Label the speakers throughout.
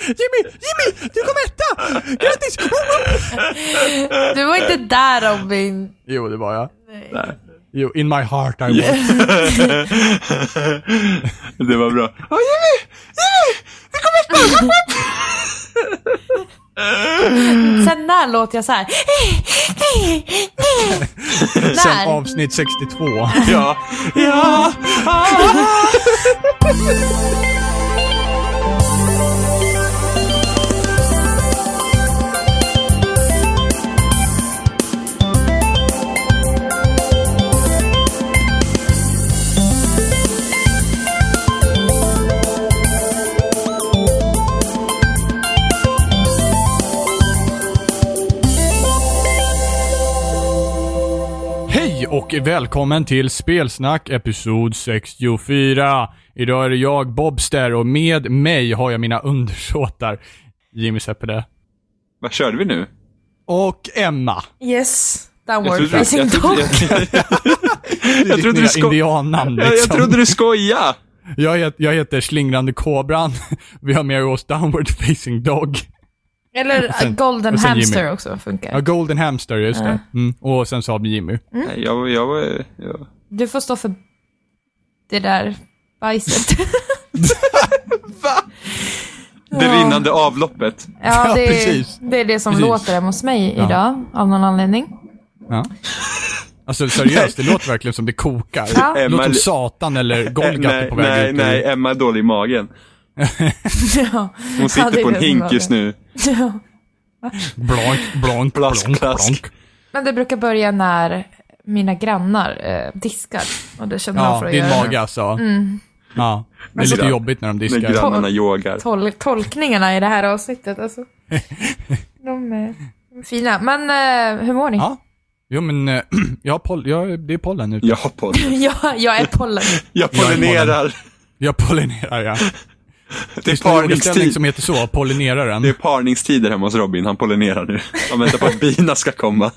Speaker 1: Jimmy, Jimmy, du kom etta! Grattis! Oh,
Speaker 2: Du var inte där Robin.
Speaker 1: Jo, det var jag.
Speaker 2: Nej.
Speaker 1: Jo, in my heart I was.
Speaker 3: Det var bra.
Speaker 1: Åh, Jimmy! Jimmy! Du kom etta!
Speaker 2: Sen när låter jag så här. Där.
Speaker 1: Sen avsnitt 62.
Speaker 3: Ja.
Speaker 1: ja! Hej och välkommen till Spelsnack episod 64. Idag är det jag, Bobster, och med mig har jag mina undersåtar. Jimmy Seppede.
Speaker 3: Vad körde vi nu?
Speaker 1: Och Emma.
Speaker 2: Yes.
Speaker 3: Jag
Speaker 2: Downward
Speaker 3: trodde, jag,
Speaker 2: facing
Speaker 3: jag,
Speaker 2: dog.
Speaker 3: jag,
Speaker 1: Ditt
Speaker 3: trodde
Speaker 1: nya
Speaker 3: du sko-
Speaker 1: indiannamn
Speaker 3: jag,
Speaker 1: liksom.
Speaker 3: jag trodde du skojade.
Speaker 1: Jag, het, jag heter Slingrande Kobran. Vi har med oss Downward Facing Dog.
Speaker 2: Eller uh,
Speaker 1: sen-
Speaker 2: golden
Speaker 1: och sen Jimmy.
Speaker 2: hamster också funkar.
Speaker 1: Ja, Golden Hamster, just det. Mm. Och sen sa vi Jimmy.
Speaker 2: Mm.
Speaker 3: Nej, jag, jag, var- jag,
Speaker 2: Du får stå för det där bajset.
Speaker 3: Det rinnande avloppet.
Speaker 2: ja,
Speaker 1: Ja,
Speaker 2: det,
Speaker 1: precis.
Speaker 2: är, det är det som
Speaker 1: Precis.
Speaker 2: låter hemma hos mig idag, av någon anledning.
Speaker 1: Ja. Alltså seriöst, det låter verkligen som det kokar.
Speaker 2: Ja.
Speaker 1: Det låter
Speaker 3: Emma- Eh,
Speaker 1: som Satan eller Golgat är
Speaker 3: nej,
Speaker 1: på väg
Speaker 3: nej,
Speaker 1: ut.
Speaker 3: nej, Emma är dålig i magen.
Speaker 2: ja.
Speaker 3: Hon sitter
Speaker 2: det är
Speaker 3: på
Speaker 2: det som
Speaker 3: en
Speaker 2: var
Speaker 3: hink
Speaker 2: det.
Speaker 3: just nu.
Speaker 2: Ja.
Speaker 1: Blank, blank,
Speaker 3: Plask,
Speaker 1: blank,
Speaker 3: plask.
Speaker 1: blank.
Speaker 2: Men det brukar börja när mina grannar eh, diskar. Och det känner jag för
Speaker 1: Ja,
Speaker 2: att
Speaker 1: din
Speaker 2: göra. Mm.
Speaker 1: mage alltså. Ja, det är lite
Speaker 3: så-
Speaker 1: jobbigt när de
Speaker 3: När
Speaker 1: diskar.
Speaker 3: grannarna yogar.
Speaker 2: Tol- tolkningarna i det här avsnittet alltså. De är fina. Men eh, hur mår ni?
Speaker 1: Ja. Jo men, eh, jag har poll- jag, det är pollen nu.
Speaker 3: Jag har på
Speaker 2: jag, jag är pollen.
Speaker 3: Jag
Speaker 1: Jag är
Speaker 3: pollinerar.
Speaker 1: Jag pollinerar ja.
Speaker 3: Det är
Speaker 1: Finns det en ordställning
Speaker 3: parningstid.
Speaker 1: som heter så? Pollineraren.
Speaker 3: Det är parningstider hemma hos Robin. Han pollinerar nu. Han väntar på att bina ska komma.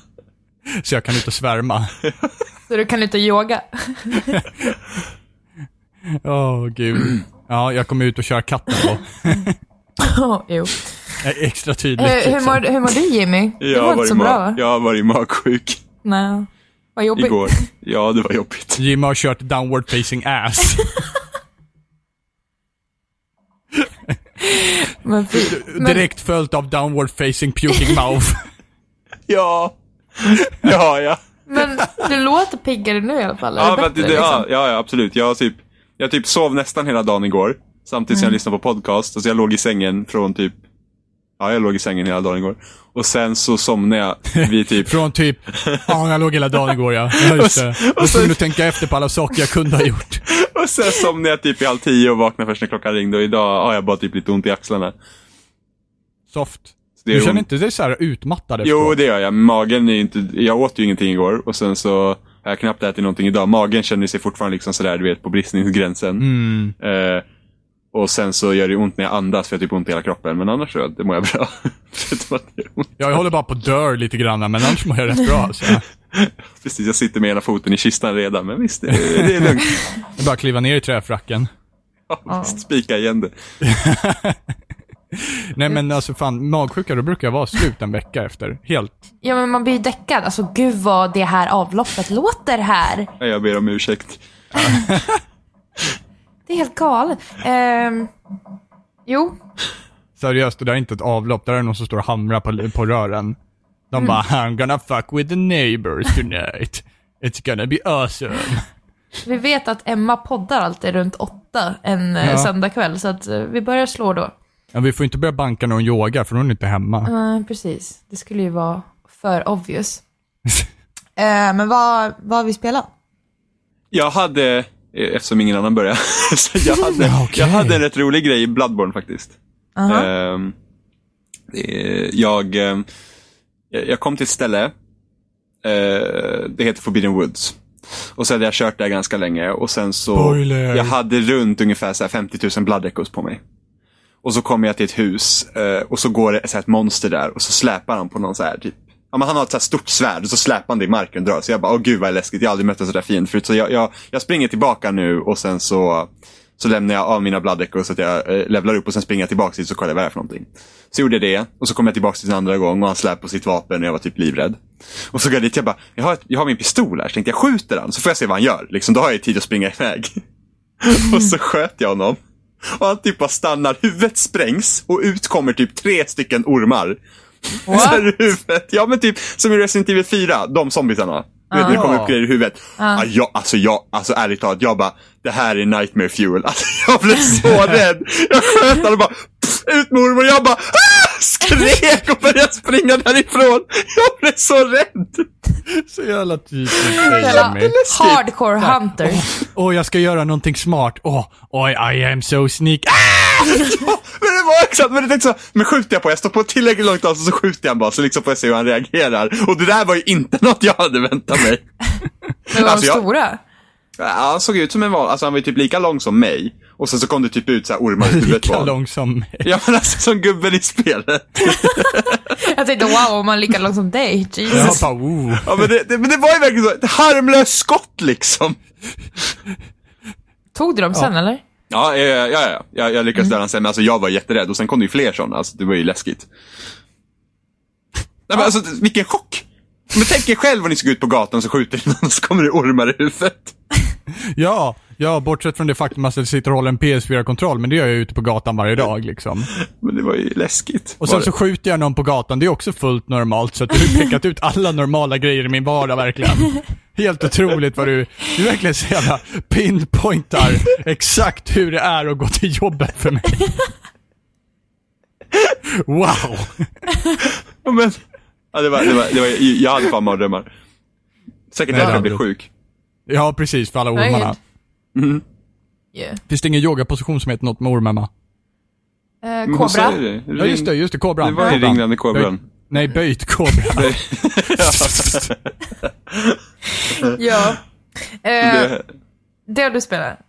Speaker 1: Så jag kan ut och svärma.
Speaker 2: Så du kan inte yoga.
Speaker 1: Åh gud. Ja, jag kommer ut och köra katten då.
Speaker 2: Oh, jo.
Speaker 1: Jag är Extra tydligt.
Speaker 2: Hur, Eh, hur,
Speaker 1: liksom.
Speaker 2: mår, hur mår du Jimmy? Du
Speaker 3: Jag
Speaker 2: mår
Speaker 3: har,
Speaker 2: inte
Speaker 3: varit
Speaker 2: så
Speaker 3: ma-
Speaker 2: bra va?
Speaker 3: jag har varit magsjuk
Speaker 2: Nej. Vad jobbigt.
Speaker 3: igår. Ja, det var jobbigt.
Speaker 1: Jimmy har kört downward facing ass.
Speaker 2: Men fy. Men,
Speaker 1: Direkt följt av downward facing puking mouth.
Speaker 3: Ja, det har jag.
Speaker 2: men du låter piggare nu i alla fall.
Speaker 3: Ja,
Speaker 2: är det
Speaker 3: men att
Speaker 2: bättre,
Speaker 3: det,
Speaker 2: liksom?
Speaker 3: ja, ja, ja, absolut. Jag, har typ, jag typ sov nästan hela dagen igår. Samtidigt
Speaker 2: Mm.
Speaker 3: som jag lyssnade på podcast. Alltså jag låg i sängen från typ... Ja, jag låg i sängen hela dagen igår. Och sen så somnade jag vid typ...
Speaker 1: Från typ, ja jag låg hela dagen igår ja. Ja just det. Jag var tvungen att tänka efter på alla saker jag kunde ha gjort.
Speaker 3: och sen somnade jag typ i halv tio och vaknade först när klockan ringde. Och idag har jag bara typ lite ont i axlarna.
Speaker 1: Soft.
Speaker 3: Så det
Speaker 1: Du
Speaker 3: är
Speaker 1: känner
Speaker 3: ont.
Speaker 1: inte dig så här utmattad
Speaker 3: Jo,
Speaker 1: efteråt?
Speaker 3: det gör jag. Magen är ju inte... Jag åt ju ingenting igår. Och sen så har jag knappt ätit någonting idag. Magen känner sig fortfarande liksom sådär, du vet, på bristningsgränsen.
Speaker 1: Mm.
Speaker 3: Eh, och sen så gör det ont när jag andas för jag har typ ont i hela kroppen. Men annars så det mår jag bra. Förutom att det gör ont.
Speaker 1: Ja, Jag håller bara på att dö lite grann men annars mår jag rätt bra alltså. Jag
Speaker 3: Precis, jag sitter med ena foten i kistan redan. Men visst, det, det är lugnt.
Speaker 1: bara kliva ner i träfracken.
Speaker 3: Ja, visst, Spika igen det.
Speaker 1: Nej men alltså fan, magsjuka då brukar jag vara slut en vecka efter. Helt.
Speaker 2: Ja, men man blir ju däckad. Alltså gud vad det här avloppet låter här.
Speaker 3: Ja, Jag ber om ursäkt.
Speaker 2: Det är helt galet. Ehm, jo,
Speaker 1: Seriöst, det där är inte ett avlopp, där är det någon som står och hamrar på, på rören. De bara I'm gonna fuck with the neighbors tonight. It's gonna be awesome.
Speaker 2: vi vet att Emma poddar alltid runt åtta en
Speaker 1: Ja.
Speaker 2: ja. söndagkväll, så att eh, vi börjar slå då.
Speaker 1: Ja, vi får inte börja banka när hon yogar för hon är inte hemma.
Speaker 2: Eh, precis, det skulle ju vara för obvious. Eh, men vad, vad har vi spelat?
Speaker 3: Jag hade, eh, eftersom ingen annan började, så jag hade,
Speaker 1: Okej.
Speaker 3: jag hade en rätt rolig grej i Bloodborne faktiskt. Ehm, eh, jag, ehm, jag jag kom till ett ställe, eh, det heter Forbidden Woods. Och så hade jag kört där ganska länge och sen så,
Speaker 1: Spoiler.
Speaker 3: jag hade runt ungefär så här 50 000 blood echoes på mig. Och så kommer jag till ett hus eh, och så går det så här ett monster där och så släpar han på någon så här typ Ja, men han har ett så här stort svärd och så släpar han det i marken och drar. Så jag bara, åh gud vad läskigt, jag har aldrig mött en sån där fiende förut. Så jag, jag, jag springer tillbaka nu och sen så, Så lämnar jag av mina blood echoes så att jag eh, levlar upp och sen springer jag tillbaka dit så kollar jag vad det är för någonting. Så gjorde jag det och så kom jag tillbaka till en andra gång och han släpade på sitt vapen och jag var typ livrädd. Och så går jag dit jag bara, jag har, ett, jag har min pistol här så tänkte jag skjuter han så får jag se vad han gör. Liksom, då har jag ju tid att springa iväg. och så sköt jag honom. Och han typ bara stannar, huvudet sprängs och ut kommer typ tre stycken ormar.
Speaker 2: What?
Speaker 3: Så här i huvudet. Ja men typ som i Resident Evil 4, de zombiesarna. Du vet när det kommer upp grejer i huvudet. Ah, jag, alltså jag, alltså ärligt talat, jag bara, det här är nightmare fuel. Alltså jag blev så rädd. Jag sköt han och bara, pff, ut med ormen. Jag bara, ah! skrek och började springa därifrån. Jag blev så rädd.
Speaker 1: Så jävla typiskt dig
Speaker 2: Jävla
Speaker 1: och mig.
Speaker 2: hardcore hunter.
Speaker 1: Åh, jag ska göra någonting smart. Åh, oj, I am so sneak. Ah,
Speaker 3: Ja, men det var exakt, men det tänkte så, men skjuter jag på, jag står på tillräckligt långt avstånd så skjuter jag bara så liksom får jag se hur han reagerar. Och det där var ju inte något jag hade väntat mig.
Speaker 2: Det var
Speaker 3: Alltså,
Speaker 2: de
Speaker 3: jag-
Speaker 2: stora.
Speaker 3: Ja, han såg ut som en van, alltså han var ju typ lika lång som mig. Och sen så kom det typ ut så här ormar i huvudet på
Speaker 1: Lika
Speaker 3: honom.
Speaker 1: lång som mig.
Speaker 3: Ja men alltså som gubben i spelet.
Speaker 2: Jag tänkte wow, om man är lika lång som dig.
Speaker 1: Jag
Speaker 2: Jesus.
Speaker 1: bara, oh.
Speaker 3: Ja, men, det, det, men det var ju verkligen så, ett harmlöst skott liksom.
Speaker 2: Tog du dem sen eller?
Speaker 3: Ja, ja, ja, ja, ja. Jag, jag
Speaker 1: Mm.
Speaker 3: lyckades döda honom sen, men alltså jag var jätterädd. Och sen kom det ju fler sådana, alltså det var ju läskigt. Nej men alltså vilken chock! Men tänk er själv om ni ska ut på gatan och så skjuter ni någon och så kommer det ormar i huvudet.
Speaker 1: Ja, ja, bortsett från det faktum att jag sitter och håller en PS4-kontroll, men det gör jag ute på gatan varje dag liksom.
Speaker 3: Men det var ju läskigt.
Speaker 1: Och
Speaker 3: Var
Speaker 1: sen
Speaker 3: det.
Speaker 1: så skjuter jag någon på gatan, det är också fullt normalt, så att du har pekat ut alla normala grejer i min vardag verkligen. Helt otroligt vad du, du verkligen så jävla pinpointar exakt hur det är att gå till jobbet för mig. Wow!
Speaker 3: Ja, men, ja, det var, det var, det var, jag hade fan mardrömmar. Säkert
Speaker 1: Nej,
Speaker 3: därför
Speaker 1: det
Speaker 3: jag
Speaker 1: hade
Speaker 3: blev
Speaker 1: du.
Speaker 3: sjuk.
Speaker 1: Ja, precis, för alla ormarna.
Speaker 2: Right.
Speaker 3: Mm.
Speaker 2: Yeah.
Speaker 1: Finns det ingen yogaposition som heter något med orm, Emma?
Speaker 2: Eh,
Speaker 3: Men hon
Speaker 2: Kobra.
Speaker 3: säger det.
Speaker 1: Ja, just det,
Speaker 3: Ring-
Speaker 1: just det, kobran.
Speaker 3: Det var ju
Speaker 1: Kobran.
Speaker 3: ringlande kobran.
Speaker 1: Böjt- Nej, böjt kobra.
Speaker 2: Ja. Eh,
Speaker 3: Det,
Speaker 2: det har du spelat.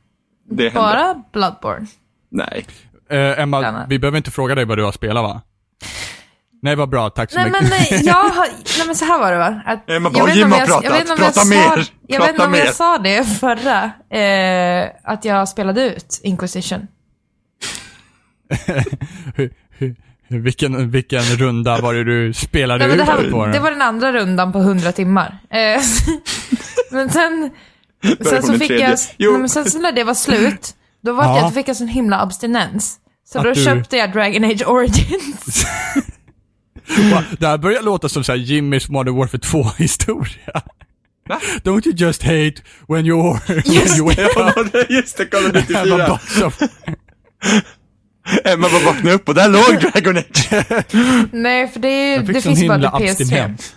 Speaker 3: det hände.
Speaker 2: Bara Bloodborne.
Speaker 3: Nej.
Speaker 1: Eh, Emma,
Speaker 2: Gärna.
Speaker 1: vi behöver inte fråga dig vad du har spelat va? Nej, vad bra, tack så
Speaker 2: Nej
Speaker 1: mycket.
Speaker 2: men nej, jag har, nej men så här var det va? Att,
Speaker 3: Emma bara, "Jim har pratat.
Speaker 2: vet inte om
Speaker 3: Prata
Speaker 2: jag
Speaker 3: mer.
Speaker 2: Sa, jag vet inte
Speaker 3: Prata
Speaker 2: om
Speaker 3: mer."
Speaker 2: jag sa det förra, eh, att jag spelade ut Inquisition.
Speaker 1: Vilken, vilken runda var det du spelade
Speaker 2: Nej, men det,
Speaker 1: ut på?
Speaker 2: här,
Speaker 1: den?
Speaker 2: det var den andra rundan på 100 timmar. Eh, men sen, sen
Speaker 3: kom
Speaker 2: så
Speaker 3: den
Speaker 2: fick
Speaker 3: tredje.
Speaker 2: jag,
Speaker 3: Jo.
Speaker 2: nej, men sen så när det var slut, då, var
Speaker 1: Ja.
Speaker 2: jag, då fick jag sån himla abstinens. Så
Speaker 1: Att
Speaker 2: då
Speaker 1: du-
Speaker 2: köpte jag Dragon Age Origins.
Speaker 1: Va? Det här börjar låta som så här Jimmys Modern Warfare 2-historia.
Speaker 3: Va?
Speaker 1: Don't you just hate when you're...
Speaker 2: Just
Speaker 1: when you wake up
Speaker 3: Just det, kolla
Speaker 1: and have a
Speaker 3: 94.
Speaker 1: box of...
Speaker 3: Emma bara vaknade upp och där låg Dragon Age.
Speaker 2: nej, för det, är ju-
Speaker 1: Jag fick
Speaker 2: det
Speaker 1: sån
Speaker 2: finns ju bara
Speaker 1: himla
Speaker 2: till PS3.
Speaker 1: abstinens.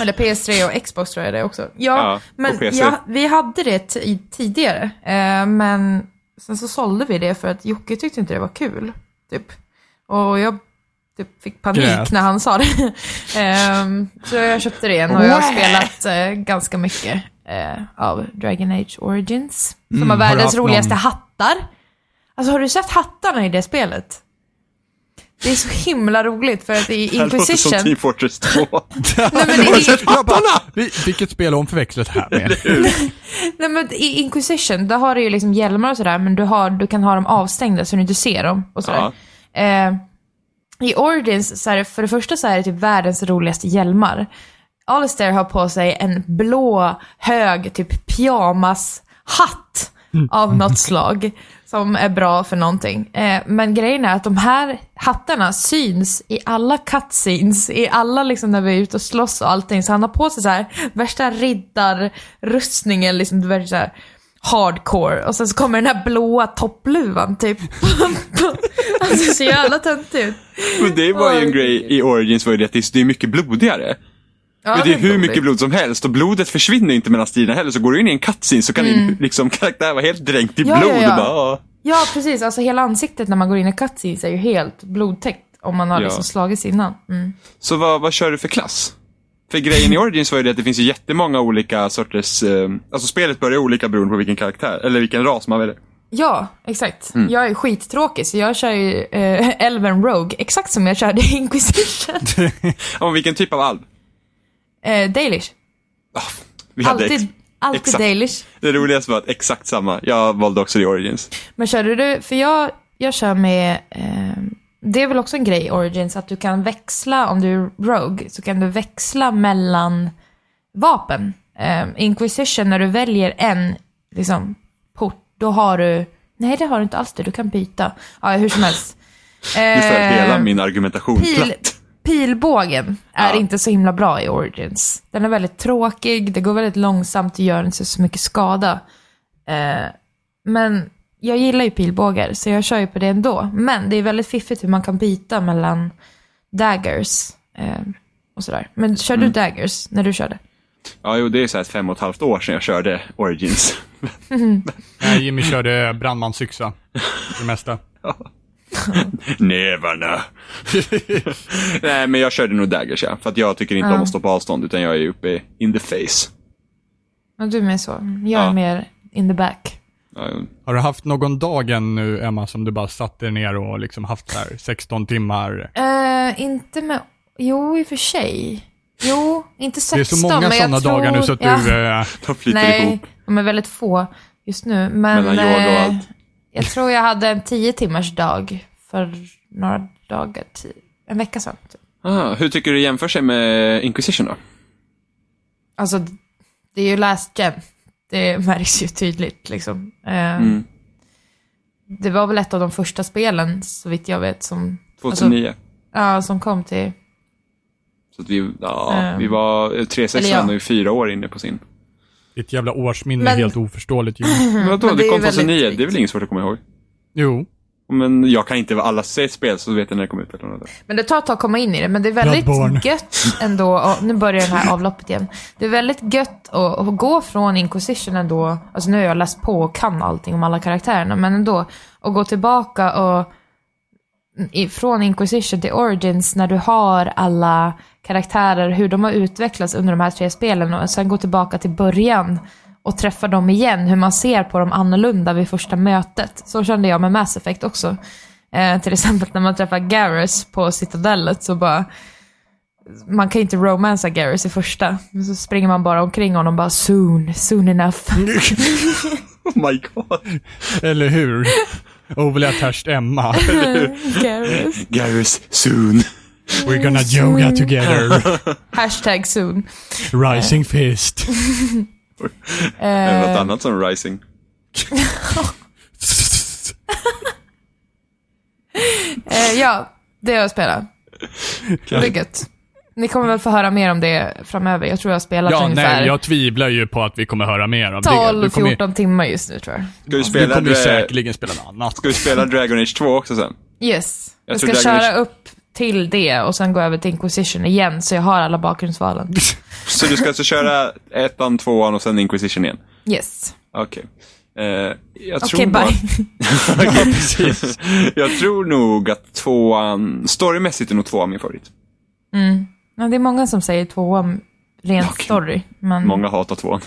Speaker 2: Eller PS3 och Xbox tror jag det är också. Ja,
Speaker 3: Ja, och
Speaker 2: men
Speaker 3: PC.
Speaker 2: ja, vi hade det t- i- tidigare. Eh, men sen så sålde vi det för att Jocke tyckte inte det var kul. Typ. Och jag typ, fick panik
Speaker 1: Grät.
Speaker 2: när han sa det. Ehm, så jag köpte det igen och jag har spelat eh, ganska mycket eh, av Dragon Age Origins. Som har
Speaker 1: Mm, har du
Speaker 2: världens
Speaker 1: haft
Speaker 2: roligaste
Speaker 1: någon?
Speaker 2: hattar. Alltså har du sett hattarna i det spelet? Det är så himla roligt för att i
Speaker 3: Det här låter som typ-
Speaker 2: Inquisition...
Speaker 3: Team Fortress 2.
Speaker 2: Nej, men det är,
Speaker 1: Jag bara, vi- vilket spel hon förväxlat här med?
Speaker 2: Nej men i Inquisition, där har du ju liksom hjälmar och sådär, men du, har, du kan ha dem avstängda så du inte ser dem och sådär. Eh, I Origins, så är det, för det första så är det typ världens roligaste hjälmar. Alistair har på sig en blå, hög, typ pyjamashatt
Speaker 3: Mm.
Speaker 2: av något slag som är bra för någonting. Eh, men grejen är att de här hattarna syns i alla cutscenes, i alla liksom när vi är ute och slåss och allting. Så han har på sig så här värsta riddarrustningen, liksom du vet så här hardcore. Och sen så kommer den här blåa toppluvan typ. Han ser så jävla töntig ut.
Speaker 3: Men det var ju en grej i Origins var ju det att det är- det är mycket blodigare.
Speaker 2: Ja,
Speaker 3: det är hur
Speaker 2: roligt.
Speaker 3: mycket blod som helst och blodet försvinner inte mellan striderna heller. Så går du in i en cutscene så kan din liksom, karaktär vara helt dränkt i
Speaker 2: Ja,
Speaker 3: blod.
Speaker 2: ja, ja.
Speaker 3: Och bara, "Ah."
Speaker 2: Ja, precis. Alltså hela ansiktet när man går in i cutscenes är ju helt blodtäckt om man har
Speaker 3: Ja.
Speaker 2: liksom slagits innan. Mm.
Speaker 3: Så vad, vad kör du för klass? För grejen i Origins var ju det att det finns ju jättemånga olika sorters... Eh, alltså spelet börjar olika beroende på vilken karaktär, eller vilken ras man väljer.
Speaker 2: Ja, exakt.
Speaker 3: Mm.
Speaker 2: Jag är skittråkig så jag kör ju eh, Elven Rogue, exakt som jag körde i Inquisition.
Speaker 3: Ja, men vilken typ av alv?
Speaker 2: eh, Dalish.
Speaker 3: Ah, Vi hade
Speaker 2: Alltid, Alltid
Speaker 3: Exakt.
Speaker 2: Dalish.
Speaker 3: Det roligaste var att exakt samma. Jag valde också det i Origins.
Speaker 2: Men körde du, för jag, jag kör med, eh, det är väl också en grej i Origins, att du kan växla, om du är Rogue, så kan du växla mellan vapen. Eh, Inquisition, när du väljer en liksom, port, då har du, nej det har du inte alls det, du kan byta. Ja, hur som helst.
Speaker 3: Du föll
Speaker 2: Eh,
Speaker 3: hela min argumentation
Speaker 2: pil,
Speaker 3: platt.
Speaker 2: pilbågen är
Speaker 3: Ja.
Speaker 2: inte så himla bra i Origins. Den är väldigt tråkig, det går väldigt långsamt och gör inte så mycket skada. Eh, men jag gillar ju pilbågar, så jag kör ju på det ändå. Men det är väldigt fiffigt hur man kan byta mellan daggers eh, och sådär. Men kör
Speaker 1: Mm.
Speaker 2: du daggers när du körde?
Speaker 3: Ja, jo, det är så här ett fem och ett halvt år sedan jag körde Origins.
Speaker 1: Nej, Jimmy körde brandmansyxa. För det mesta.
Speaker 3: Nävarna. Nej, men jag körde nog daggers, ja. För att jag tycker inte om att stå på avstånd, utan jag är uppe i- in the face.
Speaker 2: Ja, du är mer så. Jag är
Speaker 3: Ja.
Speaker 2: mer in the back.
Speaker 3: Ja, jo.
Speaker 1: Har du haft någon dag än nu, Emma, som du bara satt dig ner och liksom haft så här 16 timmar?
Speaker 2: Eh, inte med... Jo, i och för sig. Jo, inte 16,
Speaker 1: Det är så många
Speaker 2: men
Speaker 1: sådana
Speaker 2: jag
Speaker 1: dagar nu så att
Speaker 2: tror-
Speaker 1: du...
Speaker 2: Ja.
Speaker 1: Eh,
Speaker 3: De flyter
Speaker 2: Nej,
Speaker 3: ihop.
Speaker 2: de är väldigt få just nu. Men
Speaker 3: Mellan jag och
Speaker 2: eh,
Speaker 3: allt.
Speaker 2: jag tror jag hade en tio timmars dag för några dagar, ti- en vecka sedan. Typ.
Speaker 3: Ah, hur tycker du jämför sig med Inquisition då?
Speaker 2: Alltså, det är ju last gen. Det märks ju tydligt liksom. Eh,
Speaker 3: Mm.
Speaker 2: Det var väl ett av de första spelen, så vitt jag vet, som, alltså,
Speaker 3: 2009.
Speaker 2: ja, som kom till...
Speaker 3: Så att vi, ja,
Speaker 2: Ehm,
Speaker 3: vi var, 360
Speaker 2: eller ja.
Speaker 3: var nu fyra år inne på sin.
Speaker 1: ditt jävla årsminne är
Speaker 2: Men-
Speaker 1: helt oförståeligt, Jimmy.
Speaker 3: Men vadå,
Speaker 2: Mm. Men
Speaker 3: det,
Speaker 2: det är
Speaker 3: kom
Speaker 2: väldigt
Speaker 3: 2009, det är
Speaker 2: likt.
Speaker 3: väl inget svårt att komma ihåg?
Speaker 1: Jo.
Speaker 3: Men jag kan inte alla se ett spel, så vet jag när det kom ut. eller något.
Speaker 2: Men det tar ett tag att komma in i det, men det är väldigt
Speaker 1: Bloodborne.
Speaker 2: gött ändå. Ja, nu börjar det här avloppet igen. Det är väldigt gött att, att gå från Inquisition ändå. Alltså nu har jag läst på och kan allting om alla karaktärerna, men ändå. Att gå tillbaka och i- från Inquisition till Origins när du har alla karaktärer, hur de har utvecklats under de här tre spelen och sen gå tillbaka till början och träffa dem igen, hur man ser på dem annorlunda vid första mötet. Så kände jag med Mass Effect också. Eh, till exempel när man träffar Garrus på Citadellet så bara, man kan ju inte romansa Garrus i första, men så springer man bara omkring honom bara soon, soon enough.
Speaker 3: Oh my god.
Speaker 1: Eller hur? Overly attached Emma.
Speaker 2: Garrus.
Speaker 3: Garrus, soon.
Speaker 1: We're gonna
Speaker 2: Mm.
Speaker 1: yoga together.
Speaker 2: Hashtag soon.
Speaker 1: Rising fist.
Speaker 3: Eller något annat som Rising.
Speaker 2: Eh, ja, det har jag spelat. Det är gött. Ni kommer väl få höra mer om det framöver. Jag tror jag har spelat
Speaker 1: Ja,
Speaker 2: ungefär
Speaker 1: nej, jag tvivlar ju på att vi kommer höra mer av det. Du kommer, ju-
Speaker 2: 12-14 timmar just nu tror jag.
Speaker 3: Ska vi
Speaker 1: du
Speaker 3: spela,
Speaker 1: kommer ju
Speaker 3: Dra-
Speaker 1: säkerligen spela något annat.
Speaker 3: ska vi spela Dragon Age 2 också sen?
Speaker 2: Yes. Jag,
Speaker 3: Jag
Speaker 2: ska
Speaker 3: tror det är-
Speaker 2: köra upp till det och sen gå över till Inquisition igen så jag har alla bakgrundsvalen.
Speaker 3: Så du ska alltså köra ettan, tvåan och sen Inquisition igen?
Speaker 2: Yes.
Speaker 3: Okej. Eh, jag tror
Speaker 2: Okej,
Speaker 3: nog att-
Speaker 2: bye.
Speaker 1: ja, precis.
Speaker 3: Jag tror nog att tvåan, storymässigt är nog tvåan min favorit.
Speaker 2: Ja, det är många som säger tvåan rent
Speaker 3: Okej.
Speaker 2: story. Men
Speaker 3: Många hatar tvåan.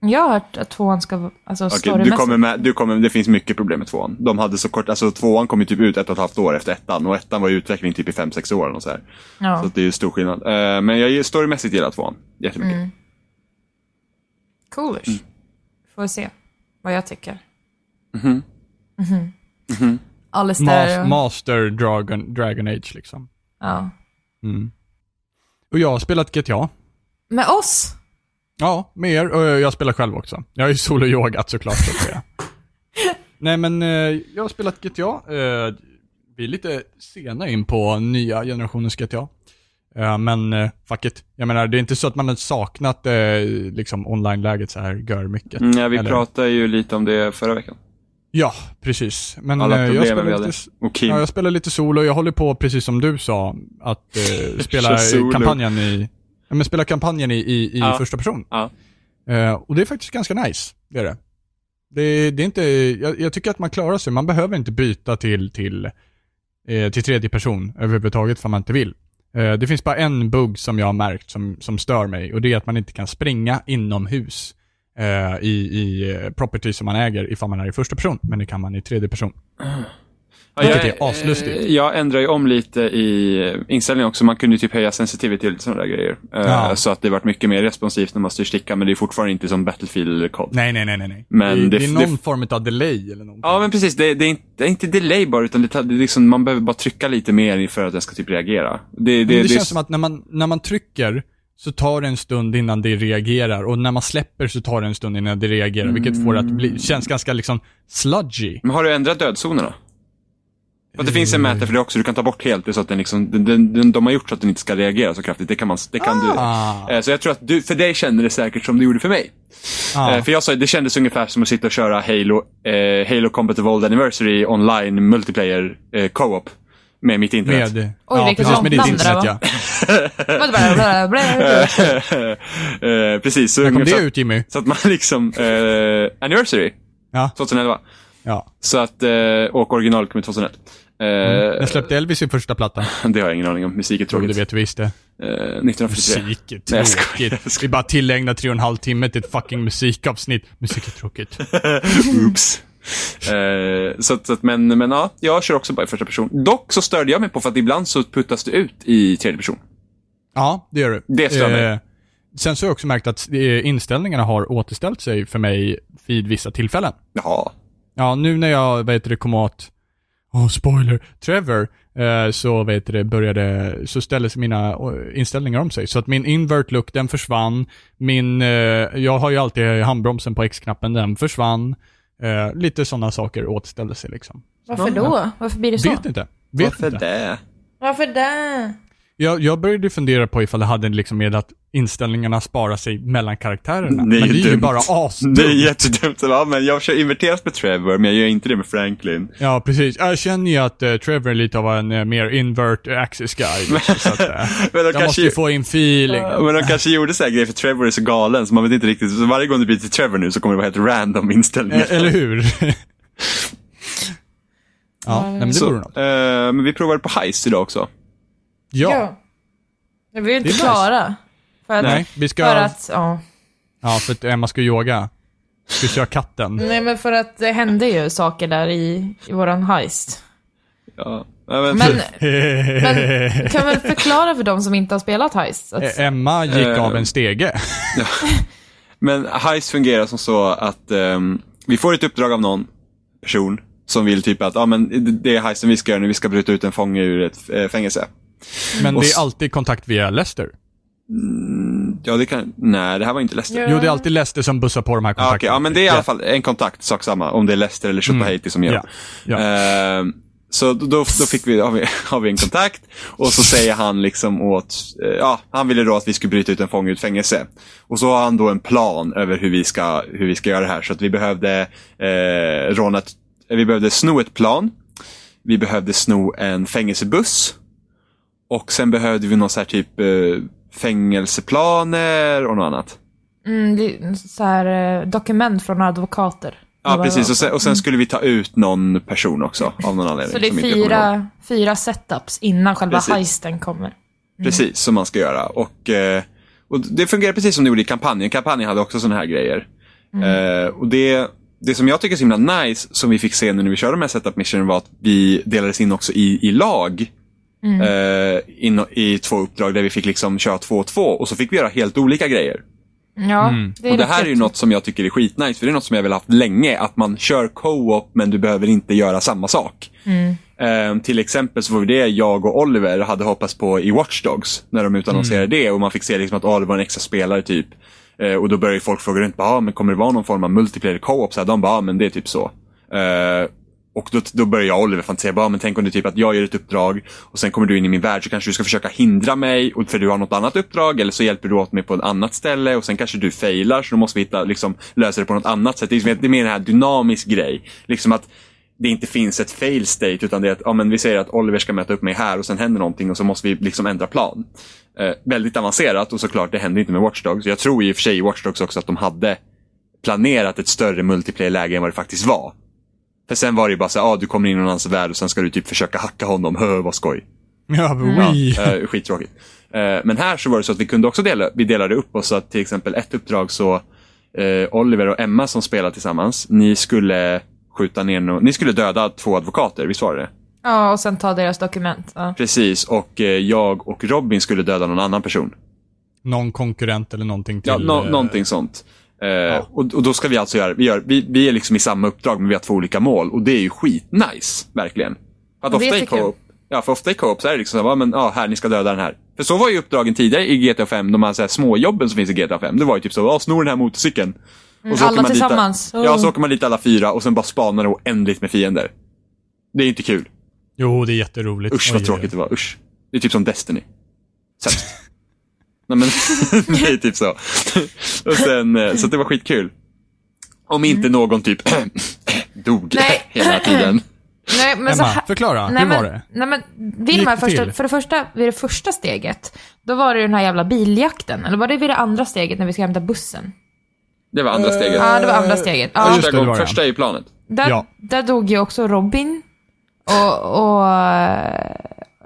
Speaker 2: jag har hört att tvåan ska vara alltså,
Speaker 3: Okej, du
Speaker 2: storymässigt.
Speaker 3: kommer med, du kommer, det finns mycket problem med tvåan. De hade så kort, alltså tvåan kom ju typ ut ett och ett halvt år efter ettan och ettan var i utveckling typ i fem, sex år och så här.
Speaker 2: Ja.
Speaker 3: Så att Alltså, det är ju stor skillnad. Eh, men jag storymässigt gillar tvåan jättemycket.
Speaker 2: Coolers. Får vi se vad jag tycker. Mhm. Mhm. Alistair
Speaker 1: Mas-
Speaker 2: och...
Speaker 1: Master Dragon, Dragon Age liksom.
Speaker 2: Ja.
Speaker 1: Och jag har spelat GTA.
Speaker 2: Med oss?
Speaker 1: Ja, med er. Och jag spelar själv också. Jag har ju solo-yogat såklart. Så att säga. Nej men, eh, jag har spelat GTA. Eh, vi är lite sena in på nya generationens GTA. Eh, men eh, fuck it. Jag menar, det är inte så att man har saknat eh, liksom online-läget så här gör mycket.
Speaker 3: Mm, ja, vi
Speaker 1: Eller-
Speaker 3: pratade ju lite om det förra veckan.
Speaker 1: Ja, precis. Men
Speaker 3: Alla
Speaker 1: eh, jag
Speaker 3: problemen vi
Speaker 1: spelar
Speaker 3: hade.
Speaker 1: lite...
Speaker 3: Och Kim.
Speaker 1: Ja, jag spelar lite solo. Jag håller på, precis som du sa, att eh, spela
Speaker 3: Kör solo.
Speaker 1: kampanjen i, ja, men spela kampanjen i, i, i
Speaker 3: Ja.
Speaker 1: första person.
Speaker 3: Ja.
Speaker 1: Eh, och det är faktiskt ganska nice, det är det. Det, det är inte, jag, jag tycker att man klarar sig. Man behöver inte byta till, till, eh, till tredje person överhuvudtaget för man inte vill. Eh, det finns bara en bugg som jag har märkt som, som stör mig och det är att man inte kan springa inomhus eh, i, i eh, property som man äger ifall man är i första person, men det kan man i tredje person. Vilket
Speaker 3: jag-
Speaker 1: är aslustigt.
Speaker 3: eh, Jag ändrar ju om lite i eh, inställningen också. Man kunde ju typ höja sensitivity och sådana där grejer. Eh,
Speaker 1: Ja.
Speaker 3: Så att det varit mycket mer responsivt när man styr stickan, men det är fortfarande inte som Battlefield COD.
Speaker 1: Nej, nej, nej, nej. nej.
Speaker 3: Men
Speaker 1: det,
Speaker 3: det-
Speaker 1: det är
Speaker 3: det-
Speaker 1: någon form av delay eller någonting.
Speaker 3: Ja, men precis. Det, det, är, inte, det är inte delay bara, utan det, tar- det är liksom, man behöver bara trycka lite mer för att den ska typ reagera. Det, det,
Speaker 1: Men det,
Speaker 3: det-
Speaker 1: känns som att när man, när man trycker så tar det en stund innan det reagerar och när man släpper så tar det en stund innan det reagerar, vilket får det att
Speaker 3: Mm.
Speaker 1: bli, känns ganska liksom sludgy.
Speaker 3: Men har du ändrat dödszonerna? För att det finns en mätare för det också, du kan ta bort helt det så att den liksom, den, den, den, de har gjort så att den inte ska reagera så kraftigt. Det kan man, det kan
Speaker 1: Ah.
Speaker 3: du. Eh, Så jag tror att du, för dig kände det säkert som det gjorde för mig.
Speaker 1: Ja.
Speaker 3: Eh, För jag sa ju, det kändes ungefär som att sitta och köra Halo, eh, Halo Combat Evolved Anniversary online multiplayer eh, co-op med mitt internet.
Speaker 1: Med,
Speaker 2: Oj,
Speaker 1: ja,
Speaker 2: vilket
Speaker 1: precis, med ditt
Speaker 2: namn det
Speaker 1: internet
Speaker 2: var.
Speaker 1: ja.
Speaker 2: Vad bara- bara- bara-
Speaker 3: eh, precis, så,
Speaker 1: När kom
Speaker 3: ungefär-
Speaker 1: det ut Jimmy?
Speaker 3: så att man liksom, eh, Anniversary
Speaker 1: Ja,
Speaker 3: 2011.
Speaker 1: ja.
Speaker 3: Så att, eh, och original kom ut 2001. Eh,
Speaker 1: När släppte Elvis sin första platta?
Speaker 3: Det har jag ingen aning om. Musik är
Speaker 1: Mm, Jo,
Speaker 3: tråkigt.
Speaker 1: det vet du visst det.
Speaker 3: Eh, 1943.
Speaker 1: Musik är
Speaker 3: Nej, jag skojar, jag
Speaker 1: tråkigt. Vi
Speaker 3: skojar.
Speaker 1: bara tillägnar tre och en halv timme till ett fucking musikavsnitt. Musik är tråkigt.
Speaker 3: Oops. Eh, så att, så att, men, men ja, jag kör också bara i första person. Dock så störde jag mig på för att ibland så puttas det ut i tredje person.
Speaker 1: Ja, det gör du.
Speaker 3: Det stör mig.
Speaker 1: Eh, Sen så har jag också märkt att eh, inställningarna har återställt sig för mig vid vissa tillfällen.
Speaker 3: Jaha.
Speaker 1: Ja, nu när jag, vad heter det, kom åt, åh spoiler, Trevor, eh, så vad heter det, började, så ställde sig mina eh, inställningar om sig. Så att min invert look, den försvann. Min, eh, jag har ju alltid handbromsen på X-knappen, den försvann. Eh, lite sådana saker återställde sig liksom.
Speaker 2: Varför då? Varför blir det så?
Speaker 1: Vet inte. Vet
Speaker 3: Varför
Speaker 1: inte.
Speaker 3: det?
Speaker 2: Varför det?
Speaker 1: Jag, jag började ju fundera på ifall det hade liksom med att inställningarna sparar sig mellan karaktärerna.
Speaker 3: Det
Speaker 1: Men
Speaker 3: är ju
Speaker 1: det är ju
Speaker 3: dumt.
Speaker 1: bara asdumt.
Speaker 3: Det är jättedumt. Ja, men jag kör inverterat med Trevor, men jag gör inte det med Franklin.
Speaker 1: Ja, precis. Jag känner ju att eh, Trevor är lite av en eh, mer invert eh, axis guy. liksom, så att, eh,
Speaker 3: Men de,
Speaker 1: jag måste ju
Speaker 3: kanske,
Speaker 1: få in feeling.
Speaker 3: men de kanske gjorde så här grejer för Trevor är så galen, så man vet inte riktigt. Så varje gång det blir till Trevor nu så kommer det vara helt random inställningar.
Speaker 1: Eh, Eller hur? ja, nej, men det
Speaker 3: så,
Speaker 1: vore
Speaker 3: eh,
Speaker 1: något.
Speaker 3: men vi provade på Heist idag också.
Speaker 1: Ja.
Speaker 2: Jag vill inte
Speaker 1: Det är
Speaker 2: klara. För att,
Speaker 1: Nej, vi ska...
Speaker 2: för att, ja.
Speaker 1: Ja, för att Emma ska yoga. Ska köra katten.
Speaker 2: Nej men för att det hände ju saker där i, i våran heist.
Speaker 3: Ja. Ja, men-
Speaker 2: Men, Mm.
Speaker 1: Eh,
Speaker 2: men kan väl förklara för de som inte har spelat heist? Att,
Speaker 1: Eh, Emma gick
Speaker 3: Eh.
Speaker 1: av en stege.
Speaker 3: Men Heist fungerar som så att ehm, vi får ett uppdrag av någon person som vill typ att ah, men det- det är heisten vi ska göra nu, vi ska bryta ut en fånge ur ett eh, fängelse.
Speaker 1: Men
Speaker 3: Eh, Och
Speaker 1: det
Speaker 3: s-
Speaker 1: är alltid kontakt via Lester.
Speaker 3: Ja, det kan... Nej, det här var inte Lester.
Speaker 1: Jo, det är alltid Lester som bussar på de här
Speaker 3: Ah,
Speaker 1: kontakterna.
Speaker 3: okej. Ja, men det är i alla fall en kontakt, sak samma. Om det är Lester eller Shota Haiti som gör
Speaker 1: Ja. Ja.
Speaker 3: Ehm, så då, då, då fick vi, har, vi, har vi en kontakt och så säger han liksom åt, eh, ja, han ville då att vi skulle bryta ut en fånge ur ett fängelse. Och så har han då en plan över hur vi ska, hur vi ska göra det här. Så att vi behövde eh, råna, ett, vi behövde sno ett plan, vi behövde sno en fängelsebuss och sen behövde vi någon så här typ eh, fängelseplaner och något annat.
Speaker 2: mm, det är så här, eh, dokument från advokater. Det
Speaker 3: Ja,
Speaker 2: var-
Speaker 3: precis. Och sen, och sen skulle vi ta ut någon person också, av någon anledning.
Speaker 2: Mm. Så det är
Speaker 3: som inte jag kommer ihåg.
Speaker 2: fyra, fyra setups innan själva
Speaker 3: Precis.
Speaker 2: heisten kommer.
Speaker 3: Mm. Precis, som man ska göra. Och, eh, och det fungerar precis som det gjorde i kampanjen. Kampanjen hade också såna här grejer. Eh, och det, det som jag tycker är så himla nice, som vi fick se nu när vi körde de här setup missionen, var att vi delades in också i, i lag. Eh, in, I två uppdrag där vi fick liksom köra två och två och så fick vi göra helt olika grejer.
Speaker 2: Ja, det är
Speaker 3: Och det
Speaker 2: rätt
Speaker 3: här är ju
Speaker 2: häftigt.
Speaker 3: något som jag tycker är skitnice, för det är något som jag väl haft länge. Att man kör co-op, men du behöver inte göra samma sak. Ehm, till exempel så var det jag och Oliver hade hoppats på i Watch Dogs, när de utannonserade det. Och man fick se liksom att Oliver var en extra spelare, typ. Eh, och då började ju folk fråga runt, bara, ah, men kommer det vara någon form av multiplayer co-op? Så här, de bara, ah, men det är typ så. Eh, och då, då börjar jag och Oliver fantisera, bara, men tänk om det är typ att jag gör ett uppdrag och sen kommer du in i min värld så kanske du ska försöka hindra mig och för du har något annat uppdrag eller så hjälper du åt mig på ett annat ställe och sen kanske du failar så då måste vi hitta, liksom, lösa det på något annat sätt. Det är, liksom, det är mer en här dynamisk grej. Liksom att det inte finns ett fail state utan det är att ja, men vi säger att Oliver ska möta upp mig här och sen händer någonting och så måste vi liksom ändra plan. Eh, väldigt avancerat och såklart det händer inte med Watch Dogs. Jag tror i och för sig i Watch Dogs också att de hade planerat ett större multiplayer-läge än vad det faktiskt var. För sen var det ju bara så här, ah, du kommer in i någon annans värld och sen ska du typ försöka hacka honom, hö vad skoj.
Speaker 1: Ja, men
Speaker 2: Mm.
Speaker 3: Ja,
Speaker 1: oui.
Speaker 3: eh, skittråkigt. Eh, men här så var det så att vi kunde också dela, vi delade upp oss så att till exempel ett uppdrag så eh, Oliver och Emma som spelar tillsammans, ni skulle skjuta ner no- ni skulle döda två advokater, visst var det det?
Speaker 2: Ja, och sen ta deras dokument. Ja.
Speaker 3: Precis, och eh, jag och Robin skulle döda någon annan person.
Speaker 1: Någon konkurrent eller någonting till...
Speaker 3: Ja, nå-
Speaker 1: eh,
Speaker 3: någonting sånt. Eh, och, och då ska vi alltså göra, vi, gör, vi, vi är liksom i samma uppdrag men vi har två olika mål och det är ju skitnice, verkligen. För att
Speaker 2: Det är
Speaker 3: ofta i
Speaker 2: jättekul.
Speaker 3: co-op, ja för ofta i co-op så är det liksom så här, "Ja, men ja, här, ni ska döda den här. För så var ju uppdragen tidigare i GTA 5, de här, så här småjobben som finns i GTA 5. Det var ju typ så, ja, snor den här motorcykeln. Och så
Speaker 2: Mm, alla
Speaker 3: åker man dit-
Speaker 2: tillsammans. Oh.
Speaker 3: ja, så åker man dit alla fyra och sen bara spanar det oändligt med fiender. Det är ju inte kul.
Speaker 1: Jo, det är jätteroligt.
Speaker 3: Usch vad
Speaker 1: Oj,
Speaker 3: tråkigt det var, usch. Det är typ som Destiny. Sämst. Nej men, det är typ så. Och sen, eh, så att det var skitkul. Om
Speaker 1: Mm.
Speaker 3: inte någon typ dog
Speaker 2: Nej.
Speaker 3: hela tiden.
Speaker 2: Nej, men så
Speaker 1: Emma,
Speaker 2: Alltså, här,
Speaker 1: förklara.
Speaker 2: nej,
Speaker 1: hur
Speaker 2: men,
Speaker 1: var det?
Speaker 2: Nej, men,
Speaker 1: Gick
Speaker 2: vid de här
Speaker 1: det
Speaker 2: första,
Speaker 1: till?
Speaker 2: för det första, vid det första steget, då var det ju den här jävla biljakten. Eller var det vid det andra steget när vi ska hämta bussen?
Speaker 3: Det var andra steget.
Speaker 2: Ja, det var andra steget. Ja,
Speaker 1: Eh, just
Speaker 3: Första,
Speaker 1: det, det
Speaker 3: gången,
Speaker 1: var det.
Speaker 3: första i planet.
Speaker 2: där,
Speaker 1: ja.
Speaker 2: där dog ju också Robin. Och, och eh,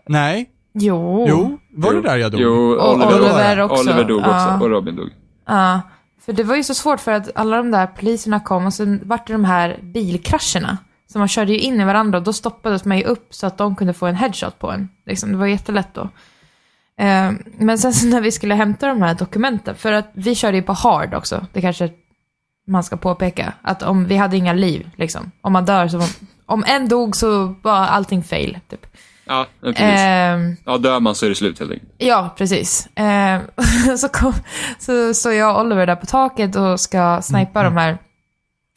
Speaker 1: Nej?
Speaker 2: jo.
Speaker 1: Jo? Var det där jag dog?
Speaker 3: Jo,
Speaker 2: Och
Speaker 3: Oliver,
Speaker 2: Oliver också.
Speaker 3: Oliver dog också
Speaker 2: Ja.
Speaker 3: och Robin dog.
Speaker 2: Ja, för det var ju så svårt för att alla de där poliserna kom och sen vart det de här bilkrascherna. Så man körde ju in i varandra och då stoppades man ju upp så att de kunde få en headshot på en. Liksom, det var jättelätt då. Eh, Men sen så när vi skulle hämta de här dokumenten, för att vi körde ju på hard också, det kanske man ska påpeka, att om vi hade inga liv, liksom. Om man dör så, var, om en dog så var allting fail, typ.
Speaker 3: Ja, precis.
Speaker 1: Eh.
Speaker 2: Ehm,
Speaker 3: Ja, dör man så är det slut helt enkelt.
Speaker 2: Ja, precis. Eh, så, kom, så, så jag och Oliver där på taket och ska snipa de här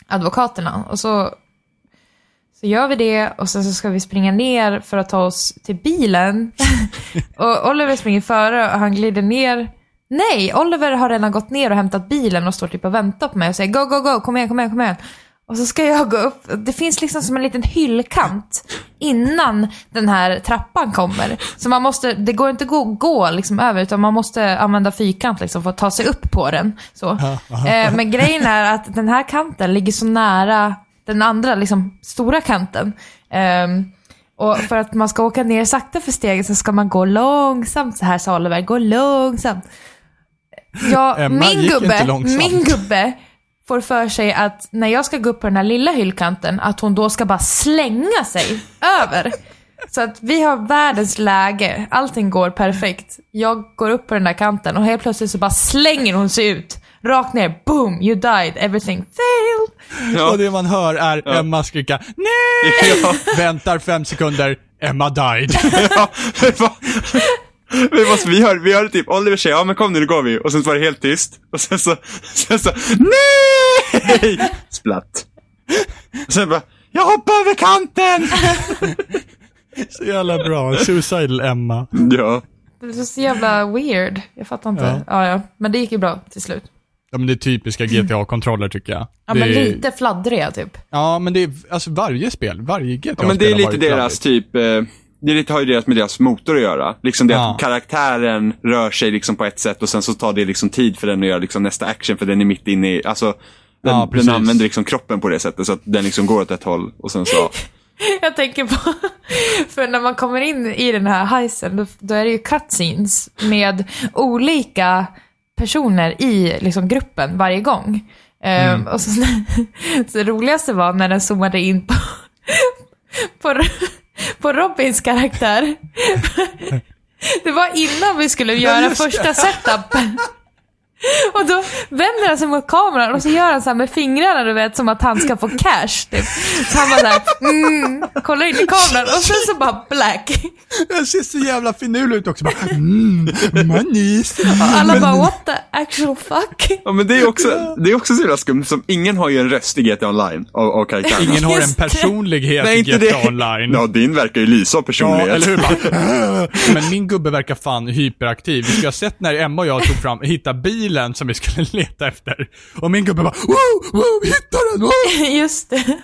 Speaker 2: advokaterna. Och så, så gör vi det och sen så ska vi springa ner för att ta oss till bilen. och Oliver springer före och han glider ner. Nej, Oliver har redan gått ner och hämtat bilen och står typ och väntar på mig och säger go, go, go, kom igen, kom igen, kom igen. Och så ska jag gå upp. Det finns liksom som en liten hyllkant innan den här trappan kommer. Så man måste, det går inte att gå, gå liksom över utan man måste använda fyrkant liksom för att ta sig upp på den. Så. Eh, men grejen är att den här kanten ligger så nära den andra liksom, stora kanten. Ehm, och för att man ska åka ner sakta för steget så ska man gå långsamt så här sa Oliver, gå långsamt. Ja,
Speaker 1: Emma
Speaker 2: min
Speaker 1: gick inte
Speaker 2: gubbe,
Speaker 1: långsamt.
Speaker 2: min gubbe får för sig att när jag ska gå upp på den här lilla hyllkanten, att hon då ska bara slänga sig över. Så att vi har världens läge, allting går perfekt. Jag går upp på den där kanten och helt plötsligt så bara slänger hon sig ut. Rakt ner, boom, you died, everything failed.
Speaker 1: Och det man hör är Emma skrika nej!
Speaker 3: Ja.
Speaker 1: Väntar fem sekunder, Emma died.
Speaker 3: Ja, det var- det var så- vi hörde, vi hörde typ Oliver säga ja men kom nu, nu går vi. Och sen så var det helt tyst. Och sen så, sen så, nej! Splatt. Och sen bara, jag hoppar över kanten!
Speaker 1: Så jävla bra. Suicidal Emma.
Speaker 3: Ja.
Speaker 2: Det var så jävla weird. Jag fattar inte. Ja. Ja, Men det gick ju bra till slut.
Speaker 1: Ja men det är typiska GTA-kontroller tycker jag.
Speaker 2: Ja,
Speaker 1: det
Speaker 2: men
Speaker 1: är,
Speaker 2: lite fladdriga typ.
Speaker 1: Ja men det är, alltså varje spel, varje GTA-spel
Speaker 3: Ja, men det är
Speaker 1: har
Speaker 3: lite
Speaker 1: varit
Speaker 3: deras
Speaker 1: fladdigt.
Speaker 3: typ, eh, det är lite, har ju deras med deras motor att göra. Liksom det
Speaker 1: Ja.
Speaker 3: att karaktären rör sig liksom på ett sätt och sen så tar det liksom tid för den att göra liksom nästa action för den är mitt inne i, alltså den,
Speaker 1: Ja,
Speaker 3: den
Speaker 1: precis.
Speaker 3: använder liksom kroppen på det sättet så att den liksom går åt ett håll och sen så,
Speaker 2: Jag tänker på, för när man kommer in i den här heisen, då, då är det ju cutscenes med olika personer i liksom, gruppen varje gång. Ehm,
Speaker 1: Mm.
Speaker 2: och så, så det roligaste var när den zoomade in på, på, på Robins karaktär. Det var innan vi skulle göra
Speaker 1: just det.
Speaker 2: första setupen. Och då vänder han sig mot kameran och så gör han så här med fingrarna, du vet, som att han ska få cash. Typ. Så han bara såhär, mm, kollar in i kameran och sen så bara black.
Speaker 1: Den ser så jävla finurlig ut också. Bara, mm, manis.
Speaker 2: Alla bara what the actual fuck.
Speaker 3: Ja men det är också, det är också så jävla skumt som ingen har ju en röst i GTA Online av, av karaktärerna.
Speaker 1: Ingen har en
Speaker 2: Just det.
Speaker 1: personlighet
Speaker 3: Nej
Speaker 1: i
Speaker 3: inte
Speaker 1: GTA
Speaker 3: det.
Speaker 1: online.
Speaker 3: Ja din verkar ju lysa av
Speaker 1: Ja,
Speaker 3: personlighet.
Speaker 1: eller hur? Bara, men min gubbe verkar fan hyperaktiv. Vi skulle ha sett när Emma och jag tog fram, hittade bilen som vi skulle leta efter. Och min gubbe bara, wow, wow, vi hittar den, wow!
Speaker 2: Just det.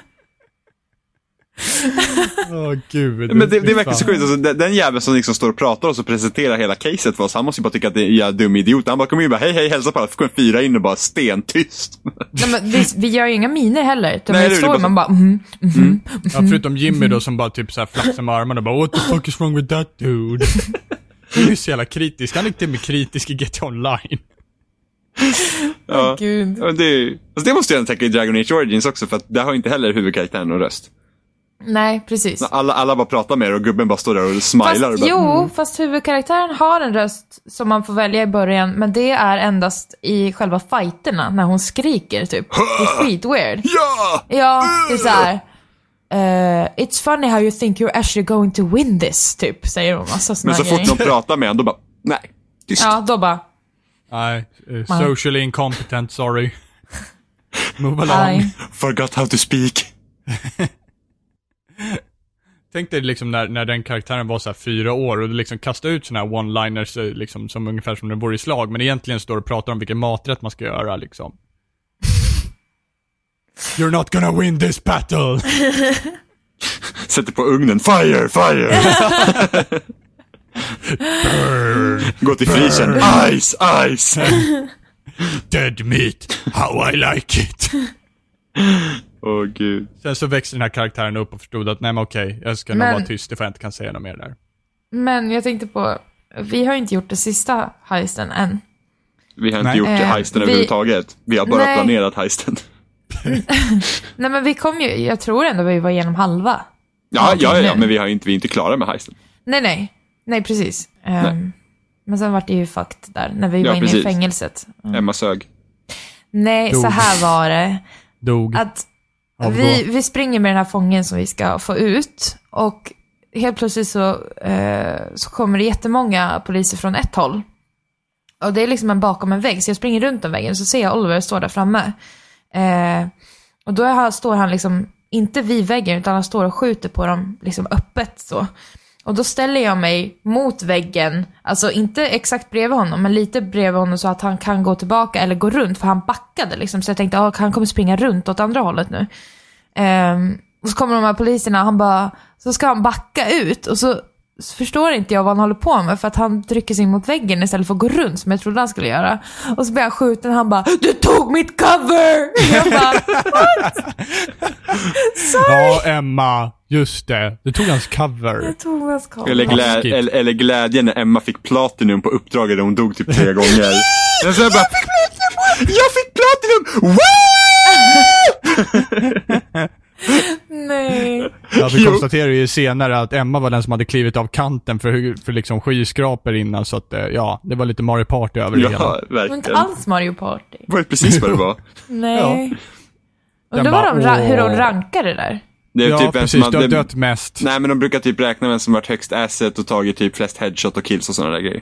Speaker 1: Åh gud.
Speaker 3: Men det,
Speaker 1: fy
Speaker 3: det verkar så
Speaker 1: fan.
Speaker 3: sjukt, alltså, den, den jäveln som liksom står och pratar och så presenterar hela caset för oss, han måste ju bara tycka att det är en jävla dum idiot. Han bara kommer in och bara hej hej hälsa på alla, kommer fyra in och bara stentyst.
Speaker 2: Nej, men vi, vi gör ju inga miner heller. utan
Speaker 3: Nej,
Speaker 2: vi
Speaker 3: det är
Speaker 2: står
Speaker 3: bara
Speaker 2: man bara mm, mm.
Speaker 1: Ja, förutom Jimmy då som bara typ såhär flaxar med armarna och bara What the fuck is wrong with that dude? Han är ju så jävla kritisk. Han är till och med kritisk i GTA Online.
Speaker 3: Ja.
Speaker 2: Gud.
Speaker 3: Ja, men Det, är- alltså, det måste jag ändå tänka i Dragon Age Origins också för att där har ju inte heller huvudkaraktären någon röst.
Speaker 2: Nej, precis.
Speaker 3: Alla, alla bara pratar med er och gubben bara står där och smilar. och
Speaker 2: Fast,
Speaker 3: bara, Mm.
Speaker 2: jo, fast huvudkaraktären har en röst som man får välja i början, men det är endast i själva fighterna när hon skriker typ. Det är skitweird.
Speaker 3: Ja!
Speaker 2: Ja, det är såhär. eh, it's funny how you think you're actually going to win this, typ, säger hon massa
Speaker 3: Men
Speaker 2: såna
Speaker 3: så
Speaker 2: här
Speaker 3: fort
Speaker 2: grejer.
Speaker 3: någon pratar med en då bara, nej, tyst.
Speaker 2: Ja, då bara,
Speaker 1: Nej, eh, socially incompetent, sorry. Move along.
Speaker 2: nej.
Speaker 3: Forgot how to speak.
Speaker 1: Tänk dig liksom när, när den karaktären var så här fyra år och du liksom kastade ut sådana här one-liners eh, liksom, som ungefär som den vore i slag, men egentligen står och pratar om vilken maträtt man ska göra liksom. You're not gonna win this battle!
Speaker 3: Sätter på ugnen, fire, fire. Gå till frysen, ice, ice.
Speaker 1: Dead meat, how I like it!
Speaker 3: Åh gud.
Speaker 1: Sen så växte den här karaktären upp och förstod att, nej men okej, jag ska nog
Speaker 2: Men-
Speaker 1: vara tyst ifall jag inte kan säga något mer där.
Speaker 2: Men jag tänkte på, vi har inte gjort den sista heisten än.
Speaker 3: Vi har inte
Speaker 1: Nej.
Speaker 3: gjort
Speaker 2: Eh,
Speaker 3: heisten
Speaker 2: vi-
Speaker 3: överhuvudtaget. Vi har bara
Speaker 2: Nej.
Speaker 3: planerat heisten.
Speaker 2: Nej men vi kom ju, jag tror ändå vi var igenom halva.
Speaker 3: Ja, ja, ja,
Speaker 2: nu.
Speaker 3: men vi, har inte, vi är inte klara med heisten.
Speaker 2: Nej, nej. Nej, precis. Ehm, Men sen vart det ju fucked där, när vi var inne
Speaker 3: precis.
Speaker 2: i fängelset. Mm.
Speaker 3: Emma sög.
Speaker 2: Nej,
Speaker 1: Dog.
Speaker 2: så här var det.
Speaker 1: Dog.
Speaker 2: Att
Speaker 1: Av
Speaker 2: vi, vi springer med den här fången som vi ska få ut. Och helt plötsligt så, eh, så kommer det jättemånga poliser från ett håll. Och det är liksom en bakom en vägg, så jag springer runt den väggen så ser jag Oliver stå där framme. Eh, och då är han, står han liksom, inte vid väggen, utan han står och skjuter på dem liksom öppet så. Och då ställer jag mig mot väggen, alltså inte exakt bredvid honom, men lite bredvid honom så att han kan gå tillbaka eller gå runt, för han backade liksom. Så jag tänkte, ah, han kommer springa runt åt andra hållet nu. Ehm, och så kommer de här poliserna och han bara, så ska han backa ut och så så förstår inte jag vad han håller på med för att han trycker sig in mot väggen istället för att gå runt som jag trodde han skulle göra. Och så blir han skjuten och han bara “Du tog mitt cover!” Jag bara
Speaker 1: Ja, Emma. Just det. Du tog hans cover.
Speaker 2: “Jag tog hans cover”.
Speaker 3: Eller, glä,
Speaker 1: Taskigt.
Speaker 3: eller, eller glädjen när Emma fick platinum på uppdraget där hon dog typ tre gånger. Jag, så jag, bara, jag fick platinum! Wow!
Speaker 2: Nej.
Speaker 1: Ja, vi
Speaker 3: Jo.
Speaker 1: konstaterar ju senare att Emma var den som hade klivit av kanten för, för liksom skyskrapor innan, så att eh, ja, det var lite Mario Party över det hela.
Speaker 3: Ja,
Speaker 2: Det var inte
Speaker 3: verkligen.
Speaker 2: alls Mario Party.
Speaker 3: Det var ju precis vad det var.
Speaker 2: Nej.
Speaker 1: Den
Speaker 2: Undrar vad de,
Speaker 1: bara,
Speaker 2: ra- hur de
Speaker 1: åh.
Speaker 2: rankar det där.
Speaker 3: Det är
Speaker 1: Ja,
Speaker 3: typ vem som
Speaker 1: precis. Du har
Speaker 3: hade,
Speaker 1: dött mest.
Speaker 3: Nej, men de brukar typ räkna vem som varit högst asset och tagit typ flest headshot och kills och sådana där grejer.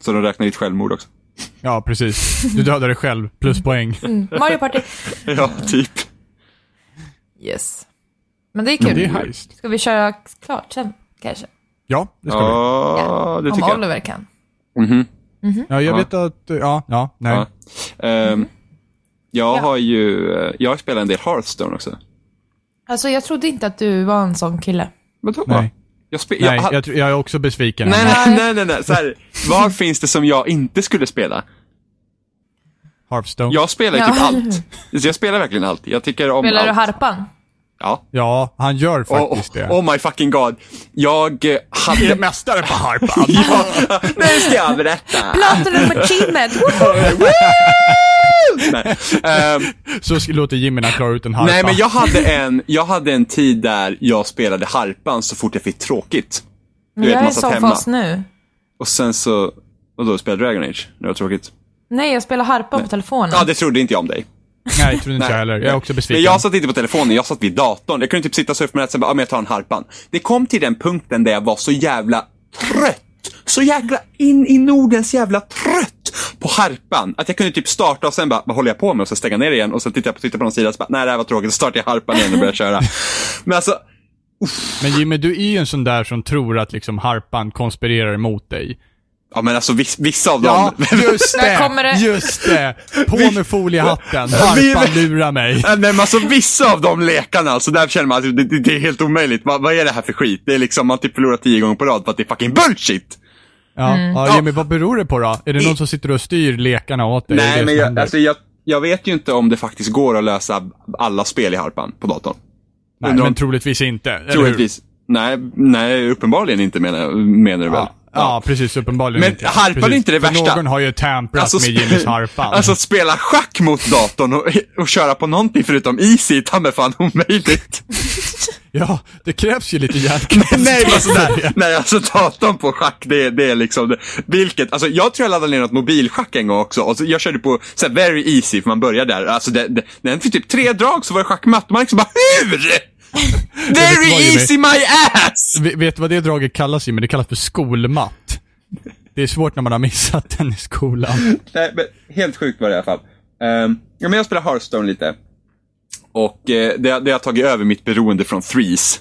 Speaker 3: Så de räknar ditt självmord också.
Speaker 1: Ja, precis. Du dödade dig själv. Pluspoäng.
Speaker 2: Mario Party.
Speaker 3: Ja, typ.
Speaker 2: Yes. Men det är
Speaker 1: Men
Speaker 2: kul.
Speaker 1: det är heist.
Speaker 2: Ska vi köra klart sen kanske?
Speaker 1: Ja, det ska Mhm. vi.
Speaker 3: Ja, det
Speaker 2: Om
Speaker 3: tycker jag.
Speaker 2: Oliver kan.
Speaker 1: Ja, jag
Speaker 3: Ja.
Speaker 1: vet att, eh, ja, ja, nej.
Speaker 3: Ja. Ehm, jag har ju, eh, jag har spelat en del Hearthstone också.
Speaker 2: Alltså jag trodde inte att du var en sån kille.
Speaker 3: Vadå?
Speaker 1: Nej.
Speaker 3: Jag spe-
Speaker 1: Nej,
Speaker 3: jag,
Speaker 1: jag, tror- jag är också besviken.
Speaker 3: Nej,
Speaker 1: Emma.
Speaker 3: nej, nej, nej, nej. Så här, vad finns det som jag inte skulle spela?
Speaker 1: Hearthstone. Ja.
Speaker 3: Jag spelar ju typ
Speaker 2: Ja.
Speaker 3: allt. Så jag spelar verkligen allt. Jag tycker om
Speaker 2: Spelar du
Speaker 3: allt.
Speaker 2: harpan?
Speaker 3: Ja.
Speaker 1: han gör
Speaker 3: Oh,
Speaker 1: faktiskt det.
Speaker 3: oh, oh my fucking god. Jag eh,
Speaker 1: är
Speaker 3: hade...
Speaker 1: mästare på harpan.
Speaker 3: ja, nu ska jag berätta.
Speaker 2: Platinum achievement! Woho!
Speaker 3: Nej. Ehm,
Speaker 1: Så sk- låter Jimmy när han klarar ut en harpa.
Speaker 3: nej, men jag hade, en, jag hade en tid där jag spelade harpan så fort jag fick tråkigt. Du
Speaker 2: Men
Speaker 3: vet,
Speaker 2: jag är i
Speaker 3: massa
Speaker 2: sån
Speaker 3: hemma.
Speaker 2: fas nu.
Speaker 3: Och sen så... Vadå, spelade Dragon Age? När det var tråkigt?
Speaker 2: Nej, jag spelar harpa på telefonen.
Speaker 3: Ja, det trodde inte jag om dig.
Speaker 1: Nej, trodde inte jag heller. Jag är också besviken.
Speaker 3: Men jag satt inte på telefonen, jag satt vid datorn. Jag kunde typ sitta och surfa med nätet och bara, ah, men jag tar en harpan. Det kom till den punkten där jag var så jävla trött. Så jävla in i Nordens jävla trött på harpan. Att jag kunde typ starta och sen bara, vad håller jag på med? Och så stänga ner igen och sen tittar jag på, titta på någon sida och så bara, nej det här var tråkigt. Så startar jag harpan igen och börjar köra. Men alltså,
Speaker 1: Men Jimmy, du är ju en sån där som tror att liksom harpan konspirerar emot dig.
Speaker 3: ja men alltså viss- vissa av dem.
Speaker 1: Ja, just
Speaker 2: Där
Speaker 1: det!
Speaker 2: kommer det.
Speaker 1: Just det! På med foliehatten, harpan lurar mig.
Speaker 3: Nej, men alltså vissa av de lekarna, alltså där känner man att det, det, det är helt omöjligt. Vad, vad är det här för skit? Det är liksom, man typ förlorar tio gånger på rad för att det är fucking bullshit.
Speaker 1: Ja, ja Jimmy, vad beror det på då? Är det någon som sitter och styr lekarna åt dig? Är det
Speaker 3: Nej,
Speaker 1: det
Speaker 3: men
Speaker 1: som
Speaker 3: jag,
Speaker 1: händer?
Speaker 3: alltså, jag, jag vet ju inte om det faktiskt går att lösa alla spel i harpan på datorn.
Speaker 1: Nej,
Speaker 3: undrar
Speaker 1: men
Speaker 3: om-
Speaker 1: troligtvis inte. eller hur?
Speaker 3: Troligtvis. Nej, nej, uppenbarligen inte menar, menar du väl?
Speaker 1: Ja, Ja, precis. Uppenbarligen
Speaker 3: Men
Speaker 1: inte.
Speaker 3: harpan är
Speaker 1: precis.
Speaker 3: inte det
Speaker 1: För
Speaker 3: värsta.
Speaker 1: Någon har ju tamprat med
Speaker 3: spe-
Speaker 1: Jimmys harpan.
Speaker 3: Alltså att spela schack mot datorn och, och köra på någonting förutom easy, ta mig fan omöjligt.
Speaker 1: ja, det krävs ju lite
Speaker 3: Nej,
Speaker 1: hjärtklappning.
Speaker 3: Nej, men alltså, där, nej, alltså datorn på schack, det, är- det är liksom det. Vilket, alltså jag tror jag laddade ner något mobilschack en gång också. Och så, jag körde på så här, very easy, för man börjar där. Alltså det, det, den fick typ tre drag så var det schackmatt. Man liksom bara, hur?
Speaker 1: vet vad,
Speaker 3: Very
Speaker 1: Jimmy.
Speaker 3: easy my ass!
Speaker 1: Ve- Vet du vad det draget kallas Jimmy? Det kallas för skolmatt. Det är svårt när man har missat den i skolan.
Speaker 3: Nej, men helt sjukt var det i alla fall. Ehm, ja, men jag spelar Hearthstone lite. Och eh, det, det har tagit över mitt beroende från Threes.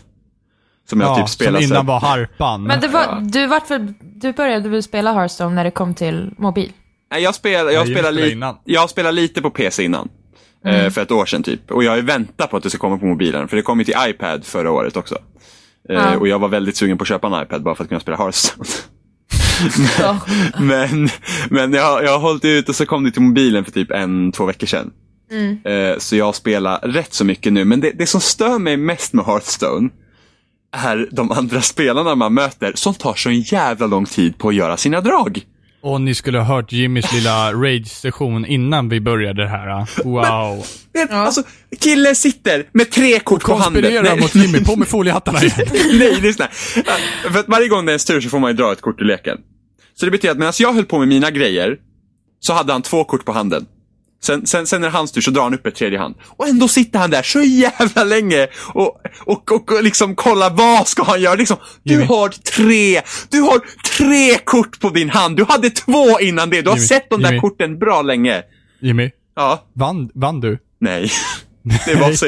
Speaker 3: Som jag
Speaker 1: Ja,
Speaker 3: typ
Speaker 1: som
Speaker 3: spelar så här-
Speaker 1: innan var harpan.
Speaker 2: Men det var, du, vart väl, du började väl spela Hearthstone när det kom till mobil?
Speaker 3: Nej, jag spelar, jag
Speaker 1: jag
Speaker 3: spelar,
Speaker 1: spelade
Speaker 3: li-
Speaker 1: innan.
Speaker 3: jag spelar lite på PC innan. Eh, för ett år sedan typ. Och jag har ju väntat på att det ska komma på mobilen. För det kom ju till iPad förra året också. Eh,
Speaker 2: Ja.
Speaker 3: Och jag var väldigt sugen på att köpa en iPad bara för att kunna spela Hearthstone.
Speaker 2: Så.
Speaker 3: men men jag, jag har hållit ut och så kom det till mobilen för typ en, två veckor sedan. Eh, så jag spelar rätt så mycket nu. Men det, det som stör mig mest med Hearthstone är de andra spelarna man möter som tar så en jävla lång tid på att göra sina drag.
Speaker 1: Och ni skulle ha hört Jimmys lilla rage-session innan vi började det här. ah. Wow.
Speaker 3: Vet, Alltså, killen sitter med tre kort på handen.
Speaker 1: Konspirera mot Jimmy, på med foliehattarna igen.
Speaker 3: nej, det är sådär. För att varje gång det är ens tur så får man ju dra ett kort ur leken. Så det betyder att medan jag höll på med mina grejer, så hade han två kort på handen. Sen, sen, sen när hans tur så drar han upp ett tredje hand. Och ändå sitter han där så jävla länge och, och, och, och liksom kollar vad ska han göra. Liksom, du
Speaker 1: Jimmy.
Speaker 3: har tre, du har tre kort på din hand. Du hade två innan det. Du har
Speaker 1: Jimmy,
Speaker 3: sett de där
Speaker 1: Jimmy.
Speaker 3: korten bra länge.
Speaker 1: Jimmy,
Speaker 3: Ja,
Speaker 1: vann, vann du?
Speaker 3: nej. Det var så,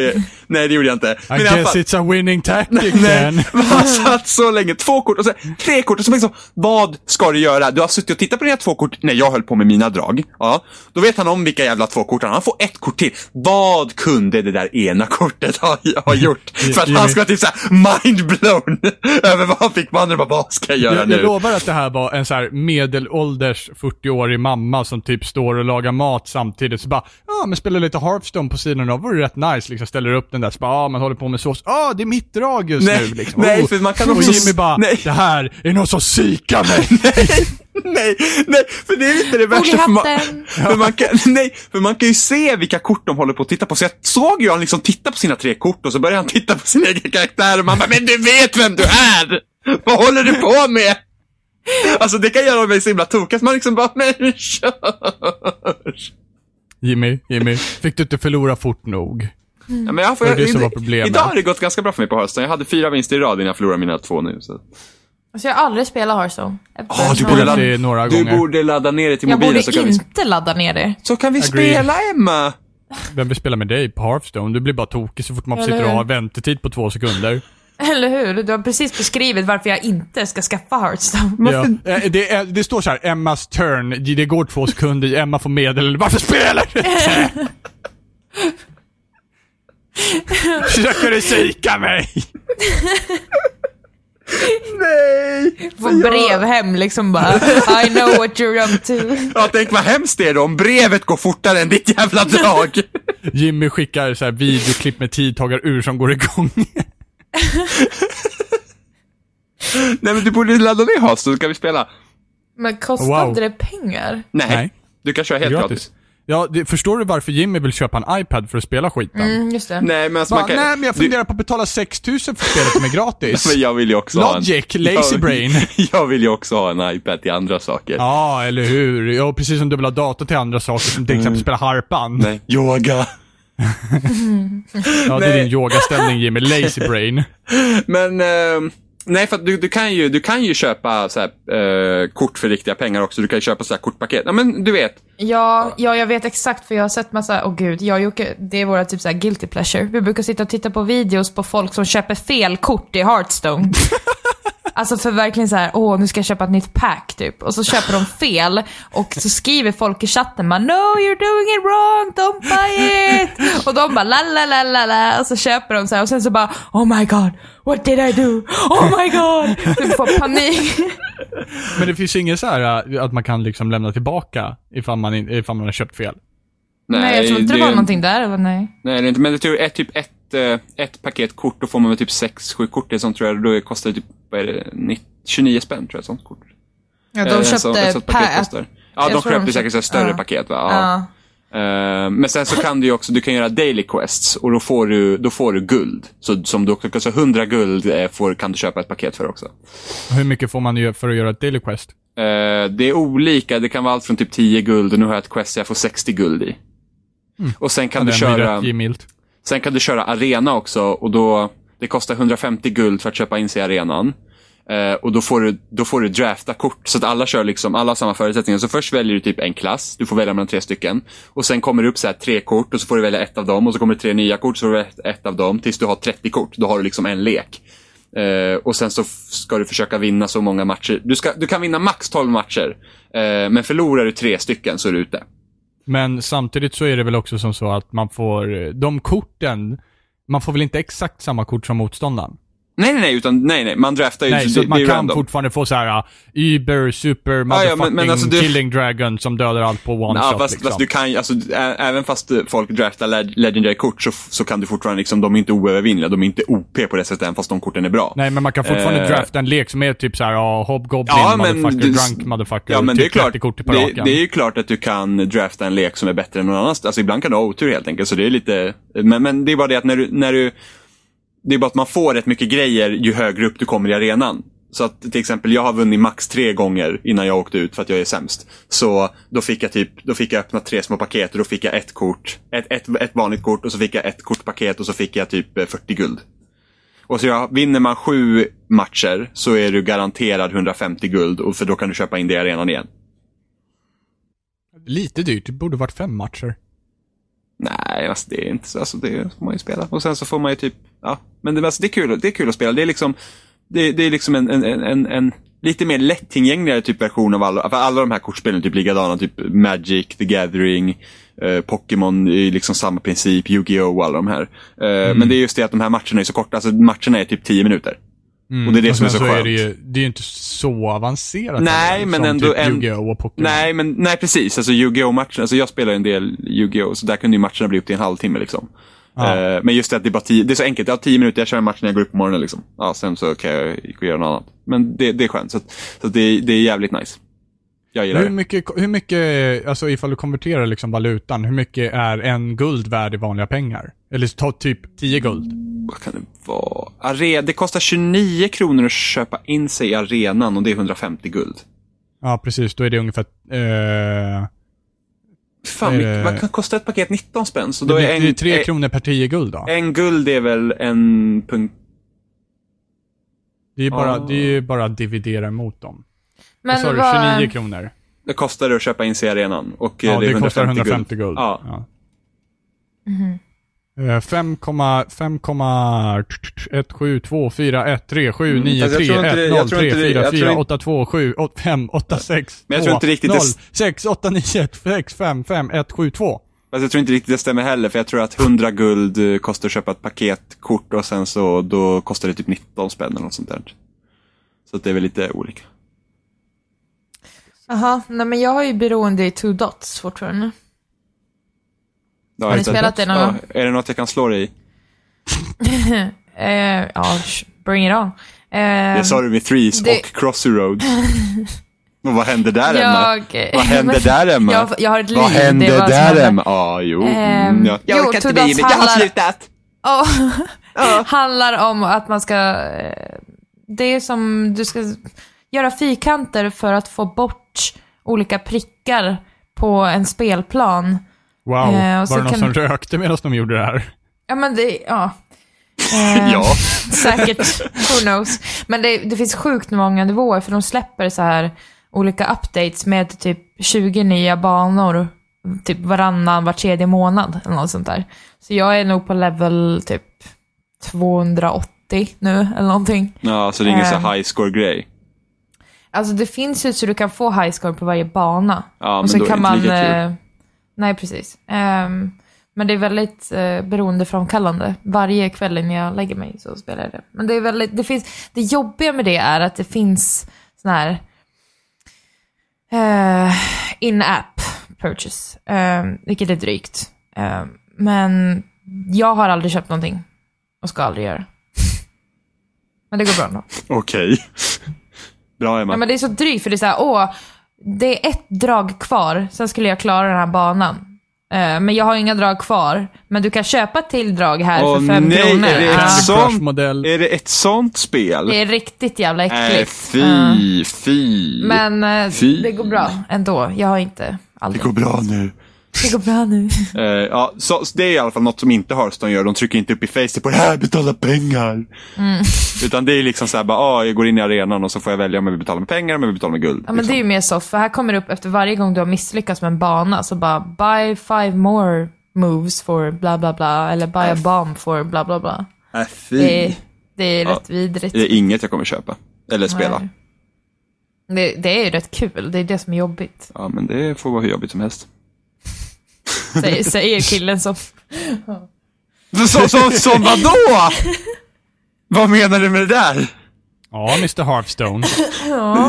Speaker 3: nej det gjorde jag inte.
Speaker 1: I
Speaker 3: i alla
Speaker 1: guess
Speaker 3: fall-
Speaker 1: it's a winning tactic then.
Speaker 3: Nej, man satt så länge. Två kort och sen tre kort. Och så liksom, vad ska du göra? Du har suttit och tittat på dina två kort när jag höll på med mina drag. Ja, då vet han om vilka jävla två kort han har. Han får ett kort till. Vad kunde det där ena kortet ha, ha gjort? För att han
Speaker 1: Jimmy.
Speaker 3: ska vara typ såhär mindblown över vad han fick på andra. Bara, Vad ska jag göra
Speaker 1: Jag,
Speaker 3: nu?
Speaker 1: jag lovar att det här var en så här medelålders 40-årig mamma som typ står och lagar mat samtidigt. Så bara, ja men spelar lite Hearthstone på sidan av, vore rätt nice. Liksom ställer upp den där, så bara, ja man håller på med sås. Ja, det är mitt drag just
Speaker 3: Nej,
Speaker 1: nu. Liksom.
Speaker 3: nej, för man kan
Speaker 1: och
Speaker 3: också-
Speaker 1: Jimmy bara,
Speaker 3: nej.
Speaker 1: det här är någon som psykar mig.
Speaker 3: nej, nej, för det är inte det värsta. För man,
Speaker 2: hatten.
Speaker 3: för man kan, nej, för man kan ju se vilka kort de håller på att titta på. Så jag såg ju han liksom titta på sina tre kort och så började han titta på sin egen karaktär och man bara, men du vet vem du är! Vad håller du på med? Alltså det kan göra mig så himla tokig, att man liksom bara, men kör!
Speaker 1: Jimmy, Jimmy, fick du inte förlora fort nog?
Speaker 3: Ja, men jag får,
Speaker 1: Det är det som var problemet.
Speaker 3: Idag har det gått ganska bra för mig på hösten. Jag hade fyra vinster i rad innan jag förlorade mina två nu. Så.
Speaker 2: Alltså jag har aldrig spelat Hearthstone. Jag
Speaker 3: Ja, du
Speaker 2: började-
Speaker 3: borde
Speaker 1: gjort
Speaker 3: ladda,
Speaker 1: det några
Speaker 3: du
Speaker 1: gånger.
Speaker 3: borde ladda ner det till
Speaker 2: jag
Speaker 3: mobilen
Speaker 2: borde
Speaker 3: så kan vi,
Speaker 2: inte ladda ner det.
Speaker 3: så kan vi
Speaker 1: Agree.
Speaker 3: spela, Emma!
Speaker 1: Vem vill spela med dig på Hearthstone? Du blir bara tokig så fort man
Speaker 2: Eller
Speaker 1: sitter och
Speaker 2: hur?
Speaker 1: har väntetid på två sekunder.
Speaker 2: Eller hur? Du har precis beskrivit varför jag inte ska skaffa Hearthstone.
Speaker 1: Ja. Eh, Det, är- det står så här, Emmas turn, det går två sekunder, Emma får medel. Varför spelar du inte? Försöker du psyka mig?
Speaker 3: Nej!
Speaker 2: Få brev hem liksom bara. I know what you're up to.
Speaker 3: Ja, tänk vad hemskt det är då om brevet går fortare än ditt jävla drag.
Speaker 1: Jimmy skickar så här videoklipp med tidtagar ur som går igång.
Speaker 3: Nej, men du borde ladda ner Hearthstone så kan vi spela.
Speaker 2: Men kostar
Speaker 1: Wow.
Speaker 2: inte det pengar?
Speaker 3: Nej,
Speaker 1: Nej.
Speaker 3: du kan köra helt gratis.
Speaker 1: Ja, det, förstår du varför Jimmy vill köpa en iPad för att spela skiten?
Speaker 2: Mm, just det.
Speaker 3: Nej, men alltså
Speaker 1: Bara,
Speaker 3: man kan...
Speaker 1: Nej, men jag funderar på att betala 6000 för spelet som är
Speaker 3: Du, men
Speaker 1: gratis.
Speaker 3: jag vill ju också ha en...
Speaker 1: Logic, lazy
Speaker 3: jag,
Speaker 1: brain.
Speaker 3: Jag vill ju också ha en iPad till andra saker.
Speaker 1: Ja, eller hur? Ja, precis som du vill ha dator till andra saker, som till exempel spela harpan.
Speaker 3: Mm. Nej, yoga.
Speaker 1: Ja, det är
Speaker 3: Nej.
Speaker 1: din yogaställning Jimmy, lazy brain.
Speaker 3: Men... ehm, Nej, för att du, du, kan ju, du kan ju köpa så här, eh, kort för riktiga pengar också. Du kan ju köpa så här kortpaket. Ja, men du vet.
Speaker 2: Ja, ja, jag vet exakt för jag har sett massa, åh gud, jag och Jocke, det är våra typ såhär guilty pleasure. Vi brukar sitta och titta på videos på folk som köper fel kort i Hearthstone. Alltså för verkligen så här, åh nu ska jag köpa ett nytt pack typ. Och så köper de fel och så skriver folk i chatten bara no you're doing it wrong, don't buy it. Och de bara la la la la la och så köper de så här och sen så bara oh my god, what did I do? Oh my god. Typ får panik.
Speaker 1: Men det finns inget så här äh, att man kan liksom lämna tillbaka ifall man, in, ifall man har köpt fel.
Speaker 2: Nej jag tror inte det var någonting där, men nej.
Speaker 3: Nej, det är inte. Men det tror jag är typ ett, eh, ett paket kort. Då får man väl typ sex, sju kort. Det är sånt tror jag. Då kostar det typ, vad är det, 90, 29 spänn tror jag, ett sånt kort.
Speaker 2: Ja,
Speaker 3: Eh,
Speaker 2: de
Speaker 3: en
Speaker 2: köpte...
Speaker 3: sån- ett sånt paket
Speaker 2: pa-
Speaker 3: kostar. Ja,
Speaker 2: jag
Speaker 3: de
Speaker 2: tror de
Speaker 3: köpte
Speaker 2: köpte-
Speaker 3: säkert så här större
Speaker 2: ja.
Speaker 3: paket va? Ja.
Speaker 2: Ja.
Speaker 3: Eh, men sen så kan du ju också, du kan göra daily quests och då får du, då får du guld. Så som du kostar 100 guld eh, får, kan du köpa ett paket för också.
Speaker 1: Hur mycket får man ju för att göra ett daily quest?
Speaker 3: Eh, det är olika, det kan vara allt från typ 10 guld och nu har jag ett quest jag får 60 guld i. Och sen kan,
Speaker 1: Den
Speaker 3: du
Speaker 1: blir
Speaker 3: köra,
Speaker 1: rätt givmilt.
Speaker 3: sen kan du köra arena också och då, det kostar 150 guld för att köpa in sig i arenan. Eh, och då får, du, då får du drafta kort, så att alla kör liksom, alla har samma förutsättningar. Så först väljer du typ en klass, du får välja mellan tre stycken. Och sen kommer det upp så här tre kort och så får du välja ett av dem och så kommer det tre nya kort, så får du välja ett, ett av dem. Tills du har 30 kort, då har du liksom en lek. Eh, och sen så f- ska du försöka vinna så många matcher. Du, ska, du kan vinna max 12 matcher, eh, men förlorar du tre stycken så är du ute.
Speaker 1: Men samtidigt så är det väl också som så att man får, äh, de korten, man får väl inte exakt samma kort som motståndaren?
Speaker 3: Nej, nej, nej, utan, nej, nej, man draftar ju.
Speaker 1: Nej,
Speaker 3: så
Speaker 1: så
Speaker 3: det,
Speaker 1: att man
Speaker 3: det är
Speaker 1: kan
Speaker 3: random.
Speaker 1: fortfarande få så här uh, Uber, super,
Speaker 3: ja,
Speaker 1: motherfucking
Speaker 3: men- men alltså du-
Speaker 1: killing dragon som dödar allt på one
Speaker 3: Ja,
Speaker 1: shot
Speaker 3: fast,
Speaker 1: liksom.
Speaker 3: fast du kan ju- alltså, ä- även fast eh, folk draftar leg- legendary kort så, f- så kan du fortfarande liksom, de är inte oövervinnliga, de är inte OP på det sättet, även fast de korten är bra.
Speaker 1: Nej, men man kan fortfarande
Speaker 3: Eh.
Speaker 1: drafta en lek som är typ så här uh, hobgoblin,
Speaker 3: Ja, men
Speaker 1: motherfucker,
Speaker 3: du-
Speaker 1: drunk motherfucker,
Speaker 3: Ja, men
Speaker 1: typ
Speaker 3: det är, klart,
Speaker 1: 30 kort i
Speaker 3: det,
Speaker 1: paraken.
Speaker 3: det är ju klart att du kan drafta en lek som är bättre än någon annans. Alltså ibland kan du ha otur helt enkelt, så det är lite, men, men det är bara det att när du, när du, det är bara att man får rätt mycket grejer ju högre upp du kommer i arenan. Så att till exempel, jag har vunnit max tre gånger innan jag åkte ut för att jag är sämst. Så då fick jag typ, då fick jag öppna tre små paket och då fick jag ett kort, ett, ett, ett vanligt kort och så fick jag ett kortpaket och så fick jag typ eh, 40 guld. Och så ja, vinner man sju matcher så är du garanterad 150 guld och för då kan du köpa in det i arenan igen.
Speaker 1: Lite dyrt, det borde varit fem matcher.
Speaker 3: Nej, alltså det är inte så. Alltså det får man ju spela. Och sen så får man ju typ, ja. Men det, alltså det, är, kul, det är kul att spela. Det är liksom, det, det är liksom en, en, en, en, en lite mer lättillgängligare typ version av alla, för alla de här kortspelen. Typ likadana, typ Magic, The Gathering, eh, Pokémon, i liksom samma princip, Yu-Gi-Oh! och alla de här. Eh, Men det är just det att de här matcherna är så korta. Alltså matcherna är typ 10 minuter. Och det är det som är så,
Speaker 1: sen
Speaker 3: skönt.
Speaker 1: är det ju, det är ju inte så avancerat.
Speaker 3: Nej,
Speaker 1: heller,
Speaker 3: men
Speaker 1: som
Speaker 3: ändå
Speaker 1: typ
Speaker 3: en-
Speaker 1: Yu-Gi-Oh! och Pokémon.
Speaker 3: Nej, men nej precis. Alltså Yu-Gi-Oh! matchen. Alltså jag spelar ju en del Yu-Gi-Oh! så där kunde ju matcherna bli upp till en halvtimme liksom.
Speaker 1: Ja.
Speaker 3: Eh, men just det att det är bara tio, det är så enkelt. Jag har tio minuter, jag kör en match när jag går upp på morgonen liksom. Ja, sen så kan jag gå och göra något annat. Men det, det är skönt. Så, att, så att det, det är jävligt nice. Jag gillar
Speaker 1: Hur
Speaker 3: det.
Speaker 1: mycket, hur mycket, alltså ifall du konverterar liksom valutan, hur mycket är en guld värd i vanliga pengar? Eller ta typ 10 guld.
Speaker 3: Vad kan det vara? Are, det kostar 29 kronor att köpa in sig i arenan och det är 150 guld.
Speaker 1: Ja, precis. Då är det ungefär... Eh,
Speaker 3: Fan,
Speaker 1: Eh.
Speaker 3: mycket- vad kan kosta ett paket 19 spänn? Så
Speaker 1: det,
Speaker 3: då
Speaker 1: blir,
Speaker 3: är
Speaker 1: det är
Speaker 3: en,
Speaker 1: 3
Speaker 3: eh,
Speaker 1: kronor per 10 guld då.
Speaker 3: en guld är väl en punkt...
Speaker 1: Det är ju bara,
Speaker 3: Ah.
Speaker 1: det är ju bara att dividera mot dem. Vad sa
Speaker 2: Men
Speaker 1: du?
Speaker 2: vad...
Speaker 1: 29 kronor?
Speaker 3: Det kostar det att köpa in sig i arenan. Och eh,
Speaker 1: Ja,
Speaker 3: det, är
Speaker 1: det kostar 150 guld.
Speaker 3: Ja.
Speaker 2: Mhm.
Speaker 1: Eh, 5,1724137939103448586.
Speaker 3: Fast Mm, alltså, jag tror inte det- jag tror inte det- jag tror inte- Men jag tror inte riktigt det-
Speaker 1: 689
Speaker 3: Fast jag tror inte riktigt det stämmer heller, för jag tror att 100 guld eh, kostar att köpa ett paketkort och sen så då kostar det typ 19 spänn eller något sånt där. Så att det är väl lite olika.
Speaker 2: Jaha, nej men jag har ju beroende i two dots fortfarande.
Speaker 3: Ja,
Speaker 2: Har ni
Speaker 3: utan-
Speaker 2: spelat det någon
Speaker 3: ja,
Speaker 2: gång? Ehm,
Speaker 3: Är det något jag kan slå dig i?
Speaker 2: Eh, ja, sh- bring it on. Eh,
Speaker 3: Det sa du med Threes
Speaker 2: det-
Speaker 3: och Crossy Road. och vad hände där Emma?
Speaker 2: Ehm, jag...
Speaker 3: Vad hände där Emma?
Speaker 2: Jag, jag har ett liv.
Speaker 3: vad
Speaker 2: det är
Speaker 3: hände
Speaker 2: vad som
Speaker 3: där
Speaker 2: händer.
Speaker 3: Emma? Ja, jo.
Speaker 2: Ehm,
Speaker 3: mm, ja.
Speaker 2: Jag jo, orkar inte bli Tudors med. Jag har handlar-
Speaker 3: slutat.
Speaker 2: Ja. handlar om att man ska... eh, Det är som du ska göra fyrkanter för att få bort olika prickar på en spelplan.
Speaker 1: Wow,
Speaker 2: Eh, och så
Speaker 1: var det någon
Speaker 2: kan-
Speaker 1: som rökte medan de gjorde det här?
Speaker 2: Ja men det, ja. Eh,
Speaker 3: Ja.
Speaker 2: Säkert, who knows. Men det, det finns sjukt många nivåer för de släpper så här olika updates med typ 20 nya banor typ varannan, var tredje månad eller något sånt där. Så jag är nog på level typ 280 nu eller någonting.
Speaker 3: Ja, så det är ingen så
Speaker 2: Ehm.
Speaker 3: high score-grej.
Speaker 2: Alltså det finns ju så du kan få high score på varje bana.
Speaker 3: Ja, men
Speaker 2: och sen
Speaker 3: då är
Speaker 2: kan
Speaker 3: det
Speaker 2: man...
Speaker 3: inte lika kul.
Speaker 2: eh, nej, precis. Ehm, men det är väldigt eh, beroendeframkallande. Varje kväll innan jag lägger mig så spelar jag det. Men det är väldigt... Det, finns, det jobbiga med det är att det finns sån här... eh, in-app purchase. ehm, vilket är drygt. Ehm, men jag har aldrig köpt någonting. Och ska aldrig göra. men det går bra ändå.
Speaker 3: Okej. Bra Emma.
Speaker 2: Ja, men det är så drygt för det är så här, åh, det är ett drag kvar, sen skulle jag klara den här banan. Eh, Men jag har inga drag kvar. Men du kan köpa ett till drag här
Speaker 3: Åh,
Speaker 2: för fem
Speaker 3: nej,
Speaker 2: kronor.
Speaker 3: är det
Speaker 2: Ja.
Speaker 3: ett sånt,
Speaker 1: Crush-modell.
Speaker 3: är det ett sånt spel?
Speaker 2: det är riktigt jävla
Speaker 3: Nej,
Speaker 2: äckligt.
Speaker 3: fy,
Speaker 2: Ja.
Speaker 3: fy.
Speaker 2: Men eh,
Speaker 3: Fy.
Speaker 2: det går bra ändå. Jag har inte
Speaker 3: Det
Speaker 2: aldrig.
Speaker 3: går bra nu.
Speaker 2: Det går bra nu.
Speaker 3: Eh, ja, så, så det är i alla fall något som inte Hearthstone gör. De trycker inte upp i Facebook på det här, betala pengar.
Speaker 2: Mm.
Speaker 3: Utan det är liksom så här, bara, ah, jag går in i arenan och så får jag välja om jag vill betala med pengar eller om jag vill betala med guld.
Speaker 2: Ja, men det
Speaker 3: liksom.
Speaker 2: är ju mer så, för här kommer det upp efter varje gång du har misslyckats med en bana, så bara buy five more moves for bla bla bla, eller buy a bomb for bla bla bla.
Speaker 3: Äh, fy.
Speaker 2: Det är, det är
Speaker 3: Ja.
Speaker 2: rätt vidrigt.
Speaker 3: Det är inget jag kommer köpa. Eller spela.
Speaker 2: Nej. Det, det är ju rätt kul, det är det som är jobbigt.
Speaker 3: Ja, men det får vara hur jobbigt som helst.
Speaker 2: Säger, säger killen som...
Speaker 3: Som, som, som vadå? Vad menar du med det där?
Speaker 1: Ja, Mr. Hearthstone.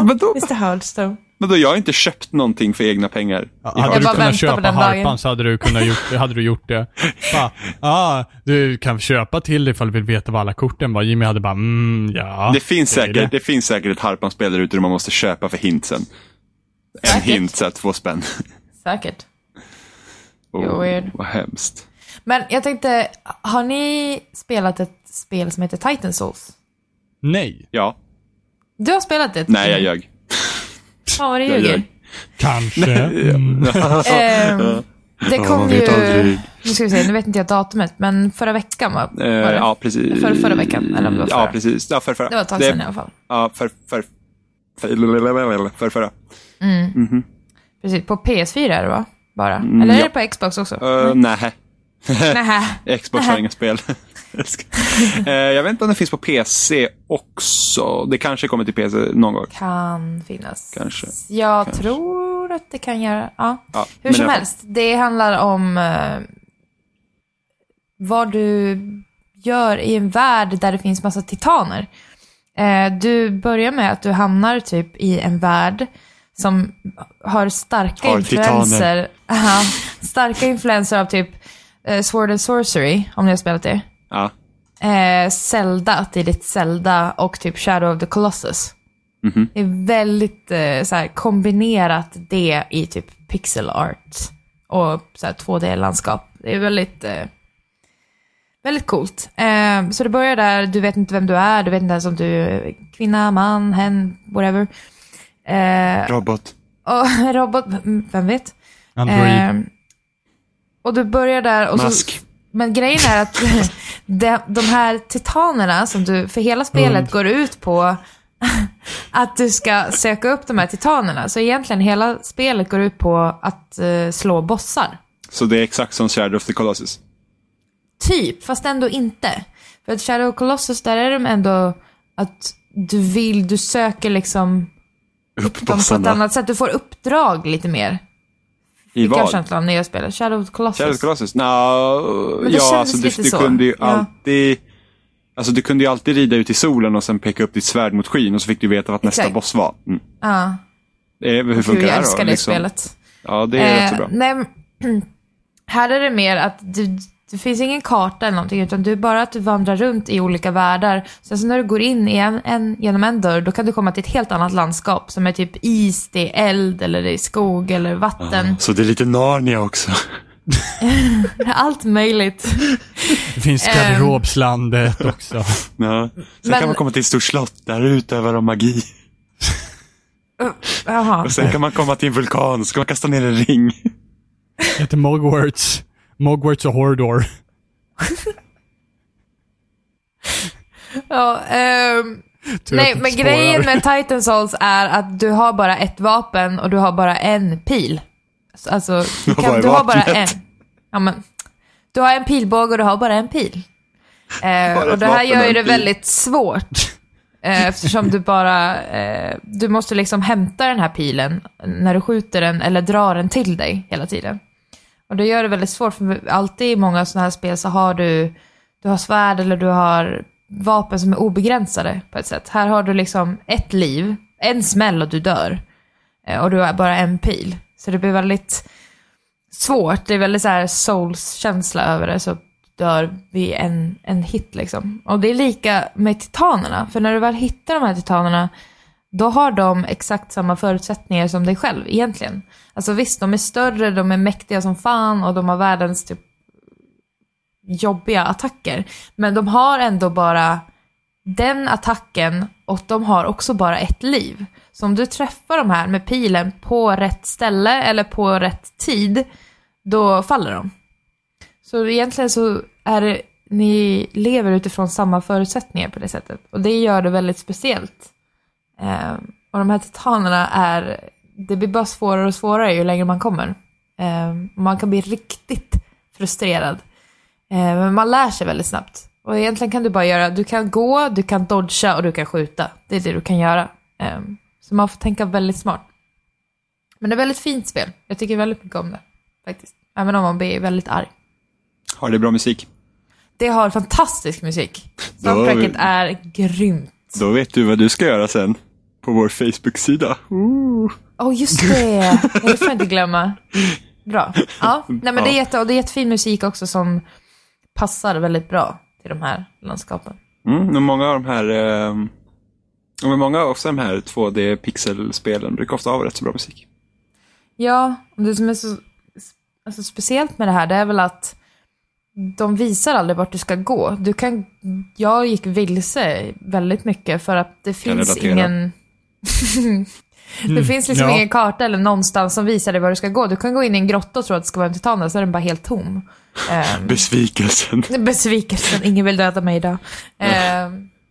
Speaker 3: Vadå?
Speaker 2: Mr Hardstone.
Speaker 3: Men då, jag har inte köpt någonting för egna pengar.
Speaker 1: Ja, hade
Speaker 2: Jag
Speaker 1: du
Speaker 2: bara
Speaker 1: kunnat
Speaker 2: väntar på
Speaker 1: köpa
Speaker 2: den
Speaker 1: harpan
Speaker 2: dagen.
Speaker 1: så hade du, kunnat gjort, hade du gjort det. Bara, ah, du kan köpa till dig ifall du vill veta vad alla korten var. Jimmy hade bara, mm, ja.
Speaker 3: det, finns
Speaker 1: det är
Speaker 3: säkert,
Speaker 1: det.
Speaker 3: det. finns säkert ett harpanspel där ute där man måste köpa för hintsen. En
Speaker 2: Säkert.
Speaker 3: hint så att två spänn.
Speaker 2: Säkert.
Speaker 3: Oh,
Speaker 2: weird.
Speaker 3: vad hemskt.
Speaker 2: Men jag tänkte, har ni spelat ett spel som heter Titan Souls?
Speaker 1: Nej,
Speaker 3: Ja.
Speaker 2: Du har spelat det?
Speaker 3: Nej, jag ljög.
Speaker 2: Fan vad du
Speaker 3: jag
Speaker 2: ljuger.
Speaker 3: ljög.
Speaker 1: kanske. Mm.
Speaker 2: Ehm, det kom
Speaker 3: man
Speaker 2: ju...
Speaker 3: vet aldrig.
Speaker 2: Nu ska vi se, nu vet inte jag datumet, men förra veckan va? var
Speaker 3: Eh,
Speaker 2: det?
Speaker 3: ja, precis.
Speaker 2: Förra- förra veckan, eller om det var
Speaker 3: Ja,
Speaker 2: förra.
Speaker 3: precis. Ja, för, förra.
Speaker 2: Det var ett tag sedan i alla fall.
Speaker 3: Ja, för, för, för, för, förra.
Speaker 2: Precis, på PS4 är det va? Bara.
Speaker 3: Mm,
Speaker 2: Eller är det på Xbox också?
Speaker 3: Uh, nej.
Speaker 2: Nähä.
Speaker 3: Xbox har inga spel. Jag ska- Eh, jag vet inte om det finns på PC också. Det kanske kommer till PC någon gång.
Speaker 2: Kan finnas.
Speaker 3: Kanske.
Speaker 2: Jag tror att det kan göra. Ja.
Speaker 3: Ja,
Speaker 2: Hur
Speaker 3: men i
Speaker 2: som
Speaker 3: alla fall.
Speaker 2: helst, det handlar om eh, vad du gör i en värld där det finns massa titaner. Eh, du börjar med att du hamnar typ i en värld som har starka
Speaker 3: Har
Speaker 2: influenser. Ja, starka influenser av typ eh, Sword and Sorcery, om ni har spelat det.
Speaker 3: Ja.
Speaker 2: Eh, Zelda, tidigt Zelda och typ Shadow of the Colossus. Det är väldigt eh, så här, kombinerat det i typ pixel art och så här, 2D-landskap. Det är väldigt, eh, väldigt coolt. Eh, så det börjar där, du vet inte vem du är, du vet inte ens om du är kvinna, man, hen, whatever. Eh,
Speaker 3: Robot.
Speaker 2: och robot, mm, vem vet?
Speaker 1: Android.
Speaker 2: Ehm, och du börjar där och
Speaker 3: Mask.
Speaker 2: så... Men grejen är att de, de här titanerna som du, för hela spelet
Speaker 3: Mm.
Speaker 2: går ut på att du ska söka upp de här titanerna. Så egentligen hela spelet går ut på att eh, slå bossar.
Speaker 3: Så det är exakt som Shadow of the Colossus.
Speaker 2: Typ, fast ändå inte. För att Shadow Colossus, där är de ändå att du vill, du söker liksom
Speaker 3: Upp
Speaker 2: dem på ett
Speaker 3: bossarna.
Speaker 2: annat sätt. Du får uppdrag lite mer.
Speaker 3: I
Speaker 2: Vad?
Speaker 3: vad?
Speaker 2: Kanske inte när jag spelar Shadow Colossus.
Speaker 3: Shadow of the Colossus? No,
Speaker 2: det kändes
Speaker 3: ja, alltså du,
Speaker 2: lite
Speaker 3: du
Speaker 2: så.
Speaker 3: kunde ju
Speaker 2: Ja.
Speaker 3: alltid... Alltså du kunde ju alltid rida ut i solen och sen peka upp ditt svärd mot skyn och så fick du veta vad nästa
Speaker 2: Exakt.
Speaker 3: boss var. Mm.
Speaker 2: Ja.
Speaker 3: Eh, Hur funkar
Speaker 2: Gud,
Speaker 3: det
Speaker 2: jag
Speaker 3: här då?
Speaker 2: älskar det
Speaker 3: liksom?
Speaker 2: spelet.
Speaker 3: Ja, det är rätt så
Speaker 2: Eh,
Speaker 3: bra.
Speaker 2: Nej, men- här är det mer att du, det finns ingen karta eller någonting, utan du bara att du vandrar runt i olika världar. Sen så när du går in i en, en, genom en dörr, då kan du komma till ett helt annat landskap som är typ is, det är eld eller det är skog eller vatten.
Speaker 3: Så det är lite Narnia också.
Speaker 2: Allt möjligt.
Speaker 1: det finns garderobslandet också.
Speaker 3: Ja. Sen
Speaker 2: Men-
Speaker 3: kan man komma till ett stort slott, där utövar de magi.
Speaker 2: Jaha.
Speaker 3: Och sen kan man komma till en vulkan, så kan man kasta ner en ring.
Speaker 1: Det heter Mogwarts. Mogwarts och Hordor.
Speaker 2: Ja, ehm,
Speaker 1: Tur
Speaker 2: nej,
Speaker 3: typ
Speaker 1: att det
Speaker 2: men
Speaker 1: spårar.
Speaker 2: grejen med Titan Souls är att du har bara ett vapen och du har bara en pil. Så, Alltså, du,
Speaker 3: Vad
Speaker 2: kan,
Speaker 3: är
Speaker 2: du har bara en.
Speaker 3: vapnet?
Speaker 2: Ja, men, du har en pilbåge och du har bara en pil. Eh,
Speaker 3: Bara
Speaker 2: och
Speaker 3: ett
Speaker 2: det här
Speaker 3: vapen,
Speaker 2: gör ju
Speaker 3: en
Speaker 2: det
Speaker 3: pil.
Speaker 2: väldigt svårt. Eh, eftersom du bara, eh, du måste liksom hämta den här pilen när du skjuter den eller drar den till dig hela tiden. Och det gör det väldigt svårt, för alltid i många sådana här spel så har du, du har svärd eller du har vapen som är obegränsade på ett sätt. Här har du liksom ett liv, en smäll och du dör. Eh, Och du har bara en pil. Så det blir väldigt svårt, det är väldigt så här souls-känsla över det. Så dör vi en, en hit liksom. Och det är lika med titanerna, för när du väl hittar de här titanerna då har de exakt samma förutsättningar som dig själv egentligen. Alltså visst, de är större, de är mäktiga som fan och de har världens typ jobbiga attacker. Men de har ändå bara den attacken och de har också bara ett liv. Så om du träffar de här med pilen på rätt ställe eller på rätt tid, då faller de. Så egentligen så är det, ni lever utifrån samma förutsättningar på det sättet. Och det gör det väldigt speciellt. Ehm, och de här titanerna är, det blir bara svårare och svårare ju längre man kommer. Ehm, man kan bli riktigt frustrerad. Ehm, men man lär sig väldigt snabbt. Och egentligen kan du bara göra, du kan gå, du kan dodga och du kan skjuta. Det är det du kan göra. Ehm, så man får tänka väldigt smart. Men det är ett väldigt fint spel. Jag tycker väldigt mycket om det. Faktiskt. Även om man blir väldigt arg.
Speaker 3: Har det bra musik?
Speaker 2: Det har fantastisk musik.
Speaker 3: Då har vi-
Speaker 2: Soundtracket är grymt.
Speaker 3: Då vet du vad du ska göra sen. På vår Facebook-sida.
Speaker 2: Åh, just det! Nej, Det får jag inte glömma. Bra. Ja, nej, men det, är jätte, och det är jättefin musik också som passar väldigt bra till de här landskapen.
Speaker 3: Mm, men många av de här ehm, ja, men många av också de här 2D-pixelspelen brukar ofta ha rätt så bra musik.
Speaker 2: Ja, och det som är så alltså, speciellt med det här det är väl att de visar aldrig vart du ska gå. Du kan, jag gick vilse väldigt mycket för att det finns
Speaker 3: relatera.
Speaker 2: ingen... det finns liksom
Speaker 1: Mm. ja.
Speaker 2: ingen karta eller någonstans som visar dig var du ska gå. Du kan gå in i en grotta och tro att det ska vara en titan och så är den bara helt tom. Ehm,
Speaker 3: Besvikelsen.
Speaker 2: Besvikelsen, ingen vill döda mig idag. Eh,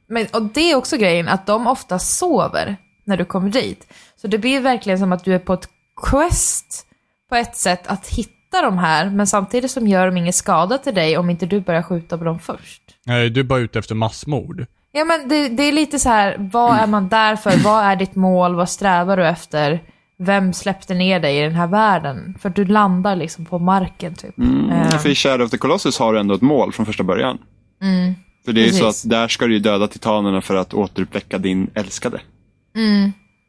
Speaker 2: men, och det är också grejen, att de ofta sover när du kommer dit. Så det blir verkligen som att du är på ett quest på ett sätt att hitta de här, men samtidigt som gör de ingen skada till dig om inte du börjar skjuta på dem först.
Speaker 1: Nej, du är bara ute efter massmord.
Speaker 2: Ja men det, det är lite så här, vad är man där för? Vad är ditt mål? Vad strävar du efter? Vem släppte ner dig i den här världen? För du landar liksom på marken typ. Eh,
Speaker 3: För i Shadow of the Colossus har du ändå ett mål från första början. För det är ju så att
Speaker 2: Mm, Precis.
Speaker 3: där ska du ju döda titanerna för att återuppväcka din älskade.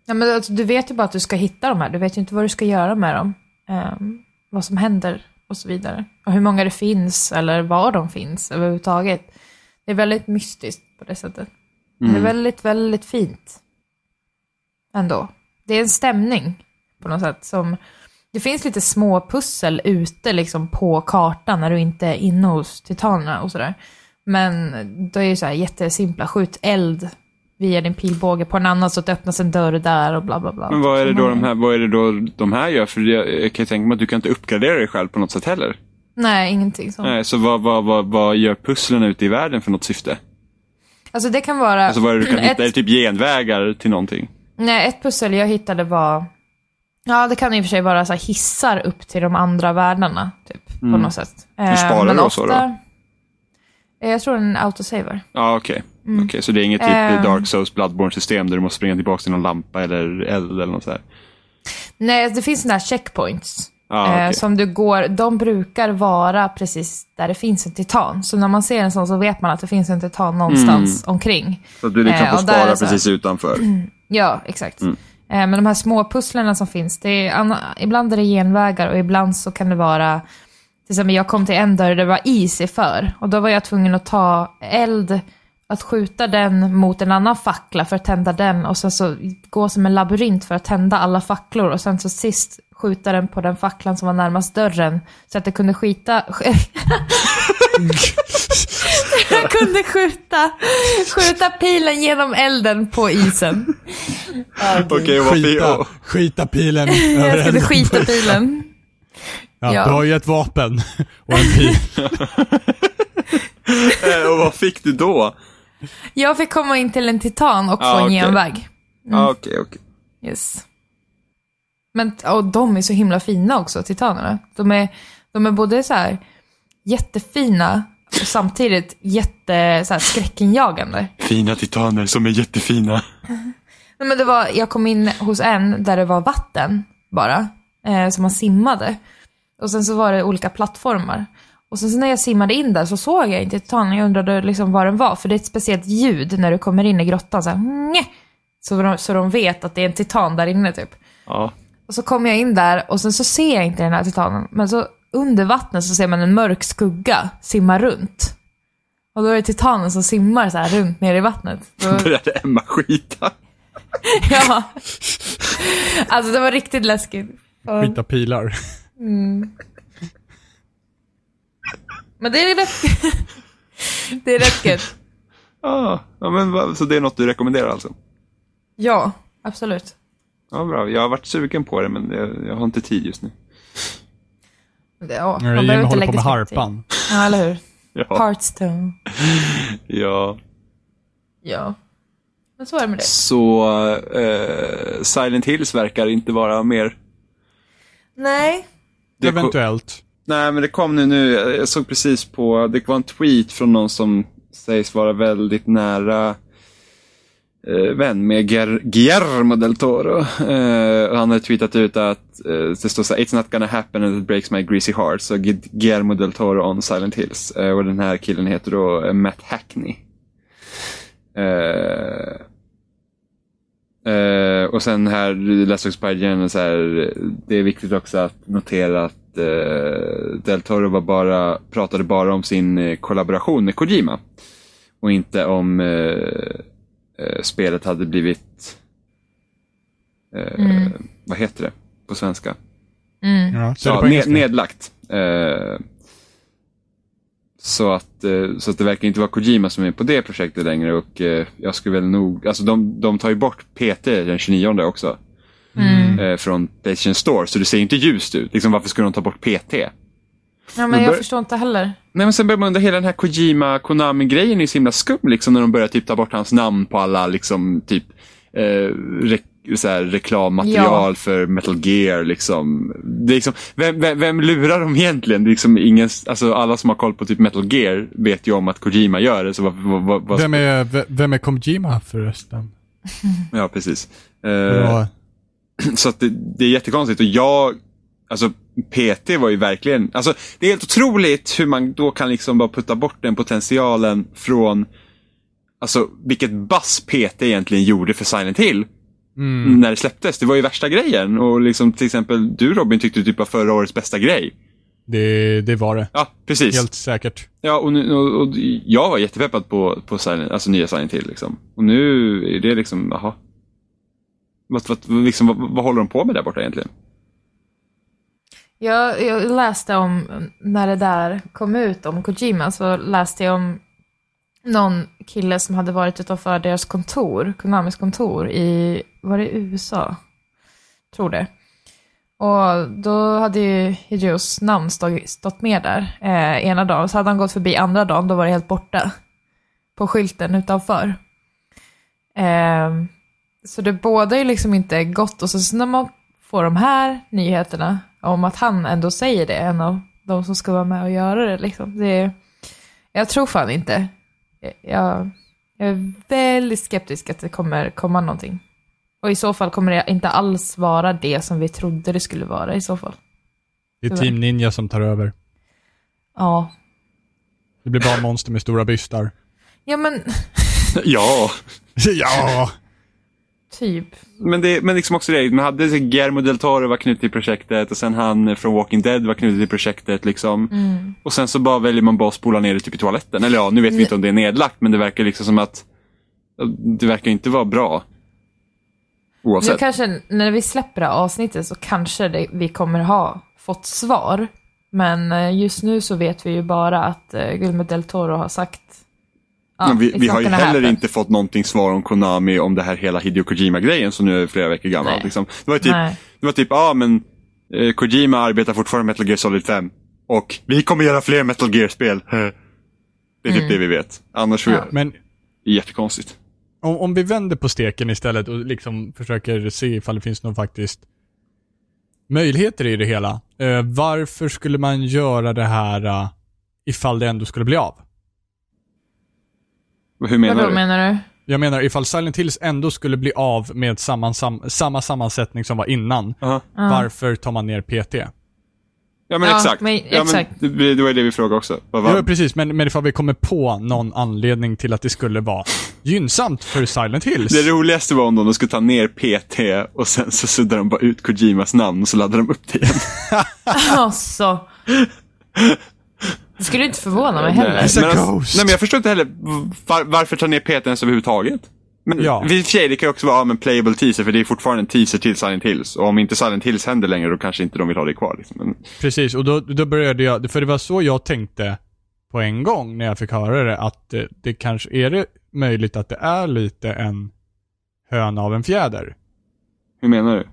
Speaker 2: Ja, men alltså, du vet ju bara att du ska hitta de här. Du vet ju inte vad du ska göra med dem. Ehm, vad som händer och så vidare. Och hur många det finns eller var de finns överhuvudtaget. Det är väldigt mystiskt på det sättet. Men
Speaker 3: Mm.
Speaker 2: Det är väldigt, väldigt fint. Ändå. Det är en stämning på något sätt som... Det finns lite små pussel ute liksom på kartan när du inte är inne hos titanerna och sådär. Men då är det ju så här jättesimpla, skjut eld via din pilbåge på en annan så att det öppnas en dörr där och bla bla bla.
Speaker 3: Men vad är, det
Speaker 2: Så
Speaker 3: då
Speaker 2: man-
Speaker 3: de här, vad är det då de här gör? För jag, jag kan ju tänka mig att du kan inte uppgradera dig själv på något sätt
Speaker 2: Mm.
Speaker 3: heller.
Speaker 2: Nej, ingenting sånt.
Speaker 3: Nej, så vad, vad, vad, vad gör pusslen ute i världen för något syfte?
Speaker 2: Alltså det kan vara...
Speaker 3: Alltså vad är det du kan hitta?
Speaker 2: ett,
Speaker 3: Är det typ genvägar till någonting?
Speaker 2: Nej, ett pussel jag hittade var... Ja, det kan i och för sig vara så här hissar upp till de andra världarna, typ. På något sätt. Hur
Speaker 3: Mm. sparar du och så
Speaker 2: Eh, Jag tror den är autosaver.
Speaker 3: Ja, okej.
Speaker 2: Mm.
Speaker 3: Okej, så det är inget typ
Speaker 2: Ehm.
Speaker 3: Dark Souls bloodborne system där du måste springa tillbaka till någon lampa eller eld eller något sådär.
Speaker 2: Nej, det finns sådana här checkpoints. eh,
Speaker 3: Ah, okej.
Speaker 2: som du går, de brukar vara precis där det finns en titan. Så när man ser en sån så vet man att det finns en titan någonstans
Speaker 3: Mm.
Speaker 2: omkring.
Speaker 3: Så att du liksom
Speaker 2: Eh,
Speaker 3: får
Speaker 2: och där är
Speaker 3: spara
Speaker 2: det så Mm. här-
Speaker 3: precis utanför.
Speaker 2: Ja, exakt. Eh, Men de här små pusslerna som finns, det är, anna- ibland är det genvägar och ibland så kan det vara, till exempel jag kom till en dörr där det var is i för och då var jag tvungen att ta eld, att skjuta den mot en annan fackla för att tända den och sen så gå som en labyrint för att tända alla facklor och sen så sist skjuta den på den facklan som var närmast dörren så att det kunde skita... jag kunde skjuta, skjuta pilen genom elden på isen.
Speaker 3: Okej, varför...
Speaker 1: Skita, skita pilen
Speaker 2: Jag skulle
Speaker 1: över
Speaker 2: skita bilen.
Speaker 1: ja,
Speaker 2: ja.
Speaker 1: Du har ju ett vapen och en pil.
Speaker 3: Eh, Och vad fick du då?
Speaker 2: Jag fick komma in till en titan och få
Speaker 3: Ah,
Speaker 2: en
Speaker 3: okej.
Speaker 2: genväg.
Speaker 3: Ah, Okej, okej.
Speaker 2: Yes. Men och de är så himla fina också, titanerna. De är, de är både så här jättefina och samtidigt jätte, så här, skräckinjagande.
Speaker 3: Fina titaner som är jättefina.
Speaker 2: Nej, men det var, jag kom in hos en där det var vatten bara, eh, som man simmade. Och sen så var det olika plattformar. Och sen så när jag simmade in där så såg jag inte titanen, jag undrade liksom vad den var. För det är ett speciellt ljud när du kommer in i grottan, så, här, "Nje!" så, de, så de vet att det är en titan där inne typ.
Speaker 3: Ja.
Speaker 2: Och så kommer jag in där och sen så ser jag inte den här titanen. Men så under vattnet så ser man en mörk skugga simma runt. Och då är det titanen som simmar så här runt ner i vattnet. Så
Speaker 3: Började Emma skita?
Speaker 2: ja. Alltså det var riktigt läskigt. Ja.
Speaker 1: Skita pilar.
Speaker 2: Men det är rätt... det är rätt gött.
Speaker 3: Ah, ja, men, va- så det är något du rekommenderar alltså?
Speaker 2: Ja, absolut.
Speaker 3: Ja, bra. Jag har varit sugen på det, men jag, jag har inte tid just nu.
Speaker 2: Ja, man behöver
Speaker 1: Jimmy håller
Speaker 2: inte lägga
Speaker 1: på med
Speaker 2: så mycket tid.
Speaker 1: harpan.
Speaker 2: Ja, eller hur?
Speaker 3: Ja.
Speaker 2: Hearthstone.
Speaker 3: ja.
Speaker 2: Ja. Men så är det med det.
Speaker 3: Så eh, Silent Hills verkar inte vara mer...
Speaker 2: Nej.
Speaker 3: Det ko-
Speaker 1: Eventuellt.
Speaker 3: Nej, men det kom nu, nu. Jag såg precis på, det var en tweet från någon som sägs vara väldigt nära eh, vän med Guer- Guillermo del Toro. Eh, och han har tweetat ut att eh, det står så här, It's not gonna happen and it breaks my greasy heart. Så Gu- Guillermo del Toro on Silent Hills. Eh, och den här killen heter då eh, Matt Hackney. Eh, Eh, och sen här i Last of Spider-Man, så här, det är viktigt också att notera att eh, Del Toro var bara, pratade bara om sin eh, kollaboration med Kojima. Och inte om eh, eh, spelet hade blivit, eh, vad heter det på svenska?
Speaker 2: Mm.
Speaker 1: Ja, så är det
Speaker 3: Ja,
Speaker 1: på
Speaker 3: ned,
Speaker 1: engelska.
Speaker 3: nedlagt. Eh, så, att, eh, så att det verkar inte vara Kojima som är på det projektet längre. Och eh, jag skulle väl nog, alltså de, de tar ju bort PT den 29 också.
Speaker 1: Mm.
Speaker 3: Eh, från Playstation Store, så det ser inte ljust ut. Liksom, varför skulle de ta bort PT?
Speaker 2: Ja, men
Speaker 3: Men
Speaker 2: jag
Speaker 3: bör-
Speaker 2: förstår inte heller.
Speaker 3: Nej, men sen börjar man undra, hela den här Kojima Konami-grejen är ju så himla skum. Liksom, när de börjar typ ta bort hans namn på alla liksom, typ, eh, re- så här, reklammaterial för Metal Gear. Liksom. Det är liksom, vem, vem, vem lurar de egentligen? Det är liksom ingen, alltså, alla som har koll på typ Metal Gear vet ju om att Kojima gör det. Så vad, vad, vad, vad,
Speaker 1: Vem är, v- vem är Kojima förresten?
Speaker 3: Ja, precis. Eh,
Speaker 1: Bra.
Speaker 3: Så att det, det är jättekonstigt. Och jag, alltså PT var ju verkligen, alltså det är helt otroligt hur man då kan liksom bara putta bort den potentialen från, alltså vilket bass PT egentligen gjorde för Silent Hill.
Speaker 1: mm.
Speaker 3: När det släpptes. Det var ju värsta grejen. Och liksom till exempel du Robin tyckte typ var förra årets bästa grej.
Speaker 1: Det, det var det.
Speaker 3: Ja, precis.
Speaker 1: Helt säkert.
Speaker 3: Ja, och, nu, och, och jag var jättepeppad på, på Silent, alltså nya Silent Hill. Liksom. Och nu är det liksom, jaha. Vad, vad, liksom, vad, vad håller de på med där borta egentligen?
Speaker 2: Jag, jag läste om, när det där kom ut om Kojima, så läste jag om någon kille som hade varit utanför deras kontor, Konamis kontor i, var det USA? Tror det. Och då hade ju Hideos namn stå, stått med där eh, ena dagen, så hade han gått förbi andra dagen, då var det helt borta. På skylten utanför. Ehm, så det båda är liksom inte gott. Och så, så när man får de här nyheterna om att han ändå säger det, en av de som ska vara med och göra det. Liksom. det är, jag tror fan inte. Jag, jag är väldigt skeptisk att det kommer komma någonting. Och i så fall kommer det inte alls vara det som vi trodde det skulle vara i så fall.
Speaker 1: Det är Team Ninja som tar över.
Speaker 2: Ja.
Speaker 1: Det blir bara monster med stora bystar.
Speaker 2: Ja men,
Speaker 3: Ja.
Speaker 1: ja!
Speaker 2: typ.
Speaker 3: Men, det, men liksom också det, man hade så Guillermo del Toro var knuten till projektet och sen han från Walking Dead var knuten till projektet. Liksom.
Speaker 2: Mm.
Speaker 3: Och sen så bara väljer man bara att spola ner det typ i toaletten. Eller ja, nu vet vi inte om det är nedlagt, men det verkar liksom som att det verkar inte vara bra.
Speaker 2: Nu
Speaker 3: Oavsett.
Speaker 2: kanske, när vi släpper det här avsnittet så kanske det, vi kommer ha fått svar. Men eh, just nu så vet vi ju bara att eh, Guillermo del Toro har sagt... ja, liksom
Speaker 3: Men vi,
Speaker 2: it's
Speaker 3: vi
Speaker 2: not
Speaker 3: har ju
Speaker 2: gonna
Speaker 3: heller
Speaker 2: happen.
Speaker 3: inte fått någonting svar om Konami om det här hela Hideo Kojima-grejen som nu är flera veckor gammal.
Speaker 2: Nej.
Speaker 3: Liksom. Det var ju typ,
Speaker 2: Nej.
Speaker 3: det var typ, ja ah, men eh, Kojima arbetar fortfarande med Metal Gear Solid 5 och vi kommer göra fler Metal Gear-spel. det är typ
Speaker 2: Mm.
Speaker 3: det vi vet. Annars ja.
Speaker 1: Men
Speaker 3: jättekonstigt.
Speaker 1: om, om vi vänder på steken istället och liksom försöker se ifall det finns någon faktiskt möjligheter i det hela. Eh, varför skulle man göra det här eh, ifall det ändå skulle bli av?
Speaker 3: Hur menar
Speaker 2: Vadå
Speaker 3: du?
Speaker 2: menar du?
Speaker 1: Jag menar ifall Silent Hills ändå skulle bli av med samma, sam, samma sammansättning som var innan.
Speaker 3: Aha.
Speaker 1: Varför tar man ner PT?
Speaker 3: Ja men
Speaker 2: Ja,
Speaker 3: exakt.
Speaker 2: men
Speaker 3: Ja, men
Speaker 2: exakt.
Speaker 3: det, blir- det var ju det vi frågade också. Vad var-
Speaker 1: Ja, precis. Men, men ifall vi kommer på någon anledning till att det skulle vara gynnsamt för Silent Hills.
Speaker 3: Det roligaste var om de skulle ta ner PT och sen så suddade de bara ut Kojimas namn och så laddade de upp det igen.
Speaker 2: Alltså. Det skulle inte förvåna mig heller.
Speaker 1: He's a
Speaker 3: men, alltså,
Speaker 1: ghost.
Speaker 3: nej men jag förstår inte heller var, varför ta ner PT ens överhuvudtaget. Men
Speaker 1: Ja.
Speaker 3: vi i och för sig, det kan ju också vara ja, men playable teaser, för det är fortfarande en teaser till Silent Hills. Och om inte Silent Hills händer längre, då kanske inte de vill ha det kvar. Liksom. Men,
Speaker 1: Precis, och då, då började jag, för det var så jag tänkte på en gång när jag fick höra det, att det, det kanske, är det möjligt att det är lite en höna av en fjäder?
Speaker 3: hur menar du?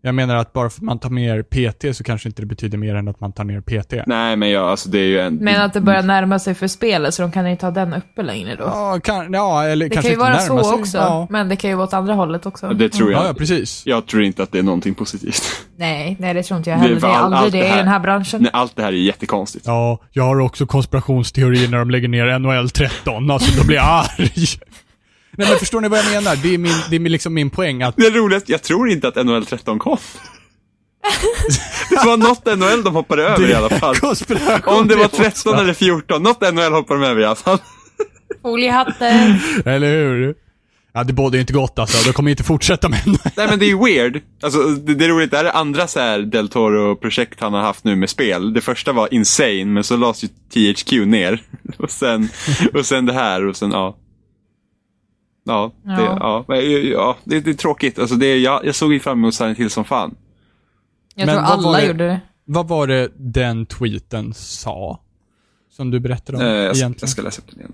Speaker 1: Jag menar att bara för att man tar ner PT så kanske inte det betyder mer än att man tar ner PT.
Speaker 3: Nej, men ja, alltså det är ju en...
Speaker 2: Men att det börjar närma sig för spelet, så de kan inte ha den uppe längre då.
Speaker 1: Ja, kan, ja eller
Speaker 2: det
Speaker 1: kanske
Speaker 2: kan ju
Speaker 1: inte
Speaker 2: vara
Speaker 1: närma
Speaker 2: så
Speaker 1: sig.
Speaker 2: också,
Speaker 1: Ja.
Speaker 2: men det kan ju vara åt andra hållet också.
Speaker 3: Det tror jag.
Speaker 1: ja, ja, precis.
Speaker 3: Jag tror inte att det är någonting positivt.
Speaker 2: Nej, nej det tror inte jag
Speaker 3: Det är
Speaker 2: heller. Det
Speaker 3: för
Speaker 2: är
Speaker 3: all-
Speaker 2: aldrig
Speaker 3: allt
Speaker 2: det,
Speaker 3: det
Speaker 2: i
Speaker 3: här-
Speaker 2: den här branschen.
Speaker 3: Nej, allt det här är jättekonstigt.
Speaker 1: Ja, jag har också konspirationsteorier när de lägger ner NHL 13, alltså då blir jag arg. Nej men förstår ni vad jag menar? Det är, min, det är liksom min poäng att
Speaker 3: Det roligaste, jag tror inte att NHL 13 kom. det var något NHL de hoppade över i alla fall.
Speaker 1: konspiration...
Speaker 3: Om det var 13 eller 14, något NHL hoppade de över i alla fall.
Speaker 2: Foliehatten.
Speaker 1: Eller hur? Ja, det bådar ju inte gott alltså. Då kommer jag inte fortsätta med den.
Speaker 3: Nej men det är ju weird. Alltså, det, det är roligt, det här är andra så här Del Toro-projekt han har haft nu med spel. Det första var Insane, men så lades ju THQ ner. Och sen, och sen det här och sen, ja. Ja, det,
Speaker 2: Ja.
Speaker 3: ja. men, ja, det, det är tråkigt. Alltså, det, är- jag, jag såg ju fram emot Silent Hill som fan.
Speaker 2: Jag
Speaker 1: Men
Speaker 2: tror
Speaker 1: vad var
Speaker 2: alla
Speaker 1: det?
Speaker 2: gjorde det.
Speaker 1: Vad var det den tweeten sa? Som du berättade om
Speaker 3: Eh, jag, ska,
Speaker 1: egentligen?
Speaker 3: jag ska läsa upp den igen.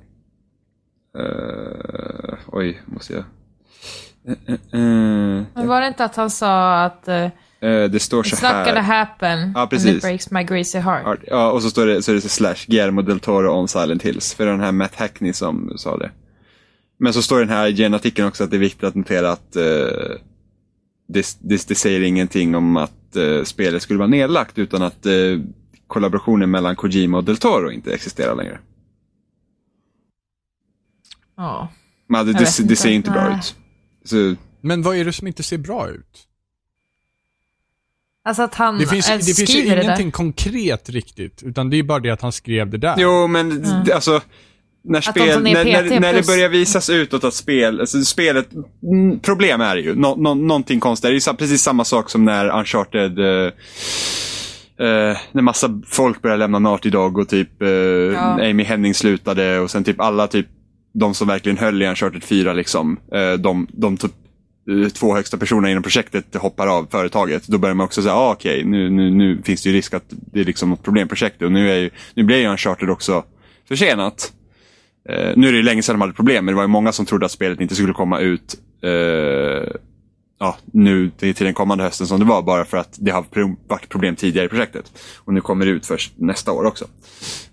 Speaker 3: Eh, oj, måste jag... Eh, eh,
Speaker 2: Men var det inte att han sa att uh,
Speaker 3: eh, det står så
Speaker 2: it's not gonna
Speaker 3: här.
Speaker 2: happen
Speaker 3: Ja,
Speaker 2: and it
Speaker 3: precis.
Speaker 2: breaks my greasy heart.
Speaker 3: Art- Ja, och så står det, så är det så slash Guillermo del Toro on Silent Hills. För det är den här Matt Hackney som sa det. Men så står det i den här IGN-artikeln också att det är viktigt att notera att eh, det, det, det säger ingenting om att eh, spelet skulle vara nedlagt utan att eh, kollaborationen mellan Kojima och del Toro inte existerar längre.
Speaker 2: Ja.
Speaker 3: Men det,
Speaker 2: Jag vet
Speaker 3: det,
Speaker 2: inte.
Speaker 3: det ser ju inte bra
Speaker 2: Nej.
Speaker 3: ut. Så,
Speaker 1: Men vad är det som inte ser bra ut?
Speaker 2: Alltså att han
Speaker 1: Det finns,
Speaker 2: eh,
Speaker 1: det finns ju
Speaker 2: skriver det där.
Speaker 1: ingenting konkret riktigt, utan det är bara det att han skrev det där.
Speaker 3: Jo, men d- d- alltså. När,
Speaker 2: de tar
Speaker 3: spel,
Speaker 2: ner
Speaker 3: när,
Speaker 2: PT
Speaker 3: när, när det
Speaker 2: plus-
Speaker 3: börjar visas utåt att spel, alltså spelet, mm, problem är det ju. Nå, nå, någonting konstigt. Det är ju sa- precis samma sak som när Uncharted, eh, eh, när massa folk började lämna Naughty Dog och typ eh, Amy Henning slutade och sen typ alla typ, de som verkligen höll i Uncharted 4 liksom, eh, de, de typ eh, två högsta personerna inom projektet hoppar av företaget, då börjar man också säga, ah, okej, nu, nu, nu finns det ju risk att det är liksom ett problemprojekt och nu, är ju, nu blir ju Uncharted också försenat. Eh, nu är det ju länge sedan de hade problem, men det var ju många som trodde att spelet inte skulle komma ut eh, ja, nu till till den kommande hösten som det var, bara för att det har pro- varit problem tidigare i projektet. Och nu kommer det ut först nästa år också.